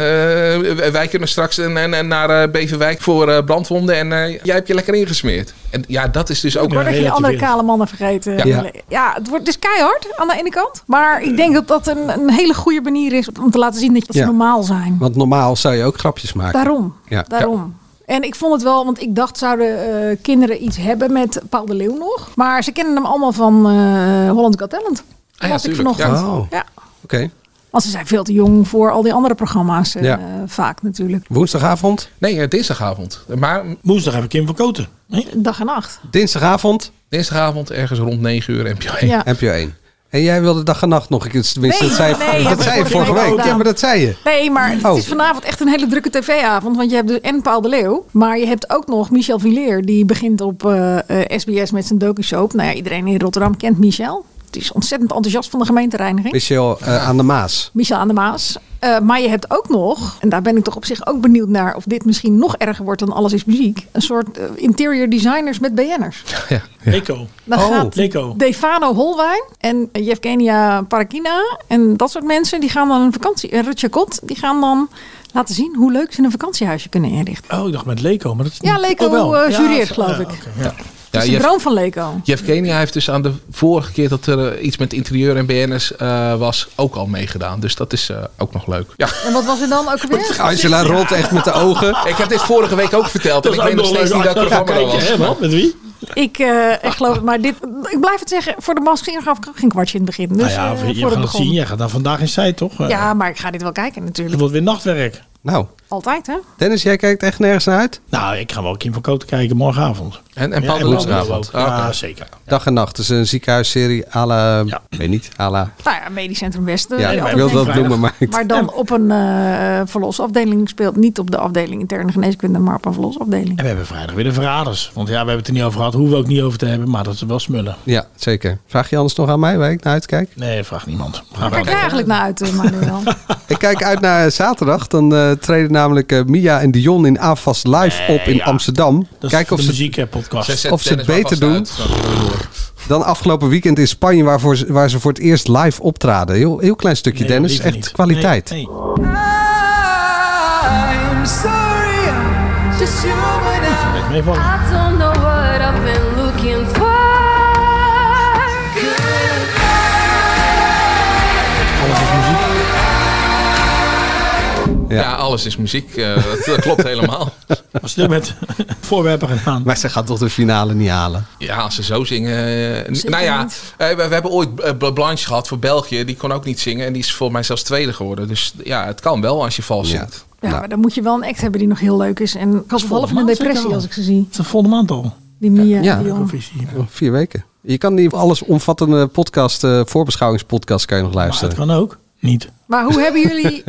Speaker 11: wij kunnen straks een, een- een naar eh, Beverwijk voor eh, brandwonden en eh, jij hebt je lekker ingesmeerd. En ja, dat is dus ook...
Speaker 10: Ik word echt die andere kale mannen vergeten.
Speaker 11: Ja.
Speaker 10: Ja, het wordt dus keihard aan de ene kant. Maar ik denk dat dat een, een hele goede manier is om te laten zien dat, je- dat ze
Speaker 3: Ja.
Speaker 10: normaal zijn.
Speaker 3: Want normaal zou je ook grapjes maken.
Speaker 10: Daarom.
Speaker 3: Ja.
Speaker 10: Daarom. En ik vond het wel, want ik dacht zouden eh, kinderen iets hebben met Paul de Leeuw nog. Maar ze kennen hem allemaal van eh Holland Got Talent. Dat
Speaker 3: Ah ja,
Speaker 10: las ik
Speaker 3: tuurlijk.
Speaker 10: vanochtend.
Speaker 3: Ja. Oh.
Speaker 10: Ja.
Speaker 3: Oké.
Speaker 10: Want ze zijn veel te jong voor al die andere programma's eh,
Speaker 3: Ja.
Speaker 10: vaak natuurlijk.
Speaker 3: Woensdagavond?
Speaker 11: Nee, eh, dinsdagavond. Maar...
Speaker 5: Woensdag heb ik Kim van Koten.
Speaker 10: Dag en nacht.
Speaker 3: Dinsdagavond?
Speaker 11: Dinsdagavond ergens rond 9 uur NPO 1.
Speaker 10: Ja.
Speaker 3: NPO 1. En jij wilde dag en nacht nog een keer. Tenminste,
Speaker 10: Nee,
Speaker 3: dat zei,
Speaker 10: nee,
Speaker 3: dat
Speaker 10: hebben
Speaker 3: zei je
Speaker 10: we
Speaker 3: vorige
Speaker 10: vorige week
Speaker 3: week.
Speaker 10: al
Speaker 3: Ja,
Speaker 10: gedaan.
Speaker 3: maar dat zei je.
Speaker 10: Nee, maar het
Speaker 3: Oh.
Speaker 10: is vanavond echt een hele drukke tv-avond. Want je hebt dus en Paul de Leeuw. Maar je hebt ook nog Michel Villier. Die begint op eh, eh, SBS met zijn docu-soap. Nou ja, iedereen in Rotterdam kent Michel. Die is ontzettend enthousiast van de gemeentereiniging.
Speaker 3: Michel eh, aan de Maas.
Speaker 10: Michel aan de Maas. Eh, maar je hebt ook nog, en daar ben ik toch op zich ook benieuwd naar... of dit misschien nog erger wordt dan Alles is Muziek... een soort eh, interior designers met BN'ers.
Speaker 11: Ja. Oh.
Speaker 5: Leco.
Speaker 10: Dan gaat
Speaker 5: Leco.
Speaker 10: Defano Holwijn en Yevgenia Parakina en dat soort mensen... die gaan dan een vakantie... En Rutja Kot, die gaan dan laten zien hoe leuk ze een vakantiehuisje kunnen inrichten.
Speaker 5: Oh, ik dacht met Leco, maar dat is
Speaker 10: Ja,
Speaker 5: niet-
Speaker 10: Leco
Speaker 5: Oh, wel.
Speaker 10: eh,
Speaker 5: Ja,
Speaker 10: jureert,
Speaker 5: zo-
Speaker 10: geloof
Speaker 5: ja,
Speaker 10: ik.
Speaker 5: oké, ja.
Speaker 10: Dat
Speaker 11: Ja,
Speaker 10: is dus de
Speaker 11: Jeff-
Speaker 10: droom van Leco.
Speaker 11: Jeff Kenia heeft dus aan de vorige keer dat er eh, iets met interieur en BN'ers eh, was ook al meegedaan. Dus dat is eh, ook nog leuk. Ja.
Speaker 10: En wat was er dan ook weer?
Speaker 3: Angela rolt echt met de ogen.
Speaker 11: Ik heb dit vorige week ook verteld. En ik
Speaker 5: Dat is
Speaker 11: weet nog
Speaker 5: ook nog
Speaker 11: steeds niet
Speaker 5: leuk.
Speaker 11: dat
Speaker 5: Ja,
Speaker 11: programma er
Speaker 5: kijk,
Speaker 11: was.
Speaker 5: hè, man, met wie?
Speaker 10: Ik, eh, ik geloof het, maar dit, ik blijf het zeggen, voor de masker gaf ik ook geen kwartje in het begin. Dus,
Speaker 5: nou ja,
Speaker 10: eh,
Speaker 5: je- je
Speaker 10: voor het
Speaker 5: gaat het
Speaker 10: begon.
Speaker 5: zien. Jij gaat daar vandaag in zij, toch? Eh,
Speaker 10: Ja, maar ik ga dit wel kijken
Speaker 5: Het
Speaker 10: natuurlijk.
Speaker 5: wordt weer nachtwerk.
Speaker 3: Nou.
Speaker 10: Altijd hè?
Speaker 3: Dennis, jij kijkt echt nergens naar uit?
Speaker 5: Nou, ik ga wel Kim van Koten kijken morgenavond.
Speaker 11: En, en
Speaker 5: Ja,
Speaker 11: Paul de
Speaker 5: en
Speaker 11: Leeuw
Speaker 5: Paul de Leeuw
Speaker 11: ook.
Speaker 5: ook.
Speaker 11: Ah, oké.
Speaker 5: Ja, zeker.
Speaker 3: Dag en nacht. Het is een ziekenhuisserie à la... Weet niet. À la...
Speaker 5: Eh,
Speaker 10: Nou ja, Medisch Centrum Westen.
Speaker 3: Ja,
Speaker 10: eh,
Speaker 3: ik
Speaker 10: altijd
Speaker 3: wilde dat
Speaker 10: vrijdag.
Speaker 3: noemen, maar...
Speaker 10: Maar dan op een eh verlosafdeling speelt. Niet op de afdeling interne geneeskunde, maar op een verlosafdeling.
Speaker 5: En we hebben vrijdag weer de verraders. Want ja, we hebben het er niet over gehad. Hoeven we ook niet over te hebben. Maar dat is wel smullen.
Speaker 3: Ja, zeker. Vraag je anders nog aan mij waar ik naar uitkijk?
Speaker 5: Nee, vraag niemand. Ga
Speaker 10: Waar
Speaker 5: maar.
Speaker 10: kijk jij eigenlijk naar uit, eh, Manuel?
Speaker 3: Ik kijk uit naar zaterdag. Dan eh, treden namelijk eh, Mia en Dion in AFAS live
Speaker 5: Nee,
Speaker 3: op in
Speaker 5: Eh, ja.
Speaker 3: Amsterdam.
Speaker 5: Dat is
Speaker 3: Kijk
Speaker 5: de
Speaker 3: of ze,
Speaker 11: Zij
Speaker 5: muziekpodcast.
Speaker 11: zet
Speaker 3: of ze het
Speaker 11: tennis maar
Speaker 3: beter
Speaker 11: vast
Speaker 3: doen.
Speaker 11: uit. Dan gaan we door.
Speaker 3: dan afgelopen weekend in Spanje, waarvoor ze- waar ze voor het eerst live optraden. Heel, heel klein stukje,
Speaker 5: Nee,
Speaker 3: Dennis.
Speaker 5: liever
Speaker 3: Echt
Speaker 5: niet.
Speaker 3: kwaliteit.
Speaker 5: Nee, nee.
Speaker 15: I'm sorry, I'm just human.
Speaker 5: Blijf meevallen.
Speaker 15: I don't know what I've been looking for.
Speaker 11: Ja. alles is muziek. eh, dat, dat klopt helemaal.
Speaker 5: Als je dit met voorwerpen gedaan.
Speaker 3: Maar ze gaat toch de finale niet halen.
Speaker 11: Ja, als ze zo zingen. eh,
Speaker 5: Zeker
Speaker 11: nou ja,
Speaker 5: niet.
Speaker 11: eh, we, we hebben ooit eh, Bl- Blanche gehad voor België. Die kon ook niet zingen. En die is volgens mij zelfs tweede geworden. Dus ja, het kan wel als je vals zingt.
Speaker 10: Ja,
Speaker 3: Nou.
Speaker 10: maar dan moet je wel een act hebben die nog heel leuk is. En ik was half in een
Speaker 5: maand
Speaker 10: depressie
Speaker 5: zeker
Speaker 10: als ik ze zie.
Speaker 5: Het is de volgende maand al.
Speaker 10: Die Mia.
Speaker 3: Ja.
Speaker 10: die jongen.
Speaker 3: Oh, Vier weken. Je kan die allesomvattende podcast, eh, voorbeschouwingspodcast, kan je nog luisteren.
Speaker 5: Dat kan ook. Niet.
Speaker 10: Maar hoe hebben jullie,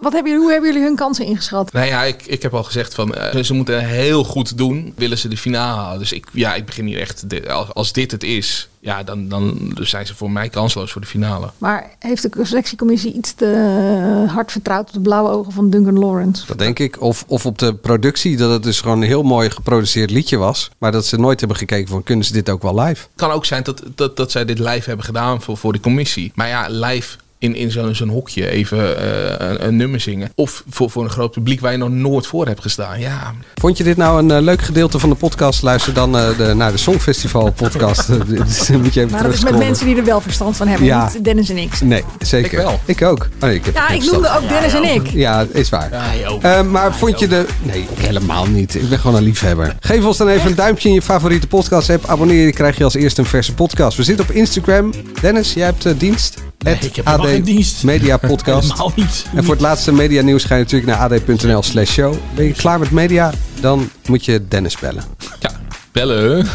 Speaker 10: wat hebben, jullie- hoe hebben jullie hun kansen ingeschat?
Speaker 11: Nou ja, ik, ik heb al gezegd van eh, ze moeten heel goed doen, willen ze de finale halen. Dus ik, ja, ik begin hier echt, de- als- als dit het is, ja, dan, dan zijn ze voor mij kansloos voor de finale.
Speaker 10: Maar heeft de selectiecommissie iets te eh, hard vertrouwd op de blauwe ogen van Duncan Lawrence?
Speaker 3: Dat denk ik. Of, of op de productie, dat het dus gewoon een heel mooi geproduceerd liedje was. Maar dat ze nooit hebben gekeken van, kunnen ze dit ook wel live?
Speaker 11: Het kan ook zijn dat, dat, dat zij dit live hebben gedaan voor, voor de commissie. Maar ja, live in, in zo'n zo'n hokje even eh, een, een nummer zingen. Of voor, voor een groot publiek waar je nog nooit voor hebt gestaan. Ja,
Speaker 3: Vond je dit nou een eh, leuk gedeelte van de podcast? Luister dan eh, de, naar de Songfestival podcast. Dus dan moet je even
Speaker 10: Maar dat is met
Speaker 3: terugscrollen.
Speaker 10: mensen die er wel verstand van hebben.
Speaker 3: Ja.
Speaker 10: Niet Dennis en ik.
Speaker 3: Nee, zeker.
Speaker 10: Ik wel.
Speaker 3: Ik ook. Oh, nee, ik heb
Speaker 10: Ja,
Speaker 3: geen
Speaker 10: ik noemde
Speaker 3: verstand.
Speaker 10: ook Dennis en ik.
Speaker 3: Ja, is waar.
Speaker 5: oh.
Speaker 3: Eh, maar vond je de... Nee, helemaal niet. Ik ben gewoon een liefhebber. Geef ons dan even een duimpje in je favoriete podcast app. Abonneer je, krijg je als eerste een verse podcast. We zitten op Instagram. Dennis, jij hebt eh, dienst. Het
Speaker 5: ik heb helemaal geen dienst.
Speaker 3: Media Podcast.
Speaker 5: Helemaal niet.
Speaker 3: En voor het laatste media nieuws ga je natuurlijk naar ad.nl slash show. Ben je klaar met media? Dan moet je Dennis bellen.
Speaker 11: ja bellen.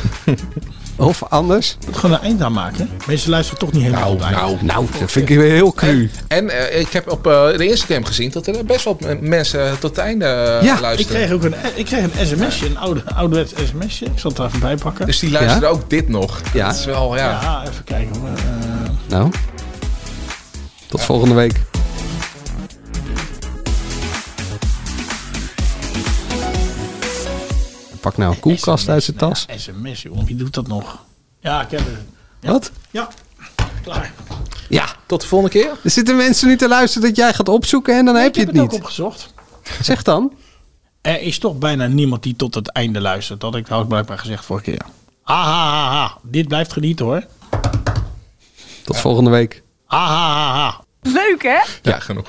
Speaker 3: Of anders?
Speaker 5: Moet gewoon een eind aan maken. Mensen luisteren toch niet helemaal goed uit.
Speaker 11: nou,
Speaker 3: nou, dat vind ik weer heel cru.
Speaker 11: En eh, ik heb op eh, de Instagram gezien dat er best wel m- mensen tot het einde eh,
Speaker 5: ik
Speaker 11: luisteren.
Speaker 5: kreeg ook een, ik kreeg een sms'je, een oude, ouderwets sms'je. Ik zal het er even bij pakken.
Speaker 11: Dus die luisteren ook dit nog.
Speaker 3: Ja.
Speaker 11: Dat is wel, ja.
Speaker 5: Ja, even kijken. hoor. Eh,
Speaker 3: Nou, tot volgende week. Pak nou een koelkast uit zijn tas.
Speaker 5: sms, joh. Wie doet dat nog? Ja, ik heb het.
Speaker 3: Wat?
Speaker 5: Ja, klaar.
Speaker 3: Ja.
Speaker 11: Tot de volgende keer.
Speaker 3: Er zitten mensen nu te luisteren dat jij gaat opzoeken en dan heb
Speaker 5: ik
Speaker 3: je
Speaker 5: heb
Speaker 3: het
Speaker 5: het ook
Speaker 3: niet.
Speaker 5: opgezocht.
Speaker 3: Zeg dan.
Speaker 5: Er is toch bijna niemand die tot het einde luistert. Dat had ik trouwens blijkbaar gezegd vorige keer. Ha, ha, ha, ha. Dit blijft genieten hoor.
Speaker 3: Tot volgende week.
Speaker 5: Ha, ha, ha, ha.
Speaker 9: Leuk hè?
Speaker 11: Ja, genoeg.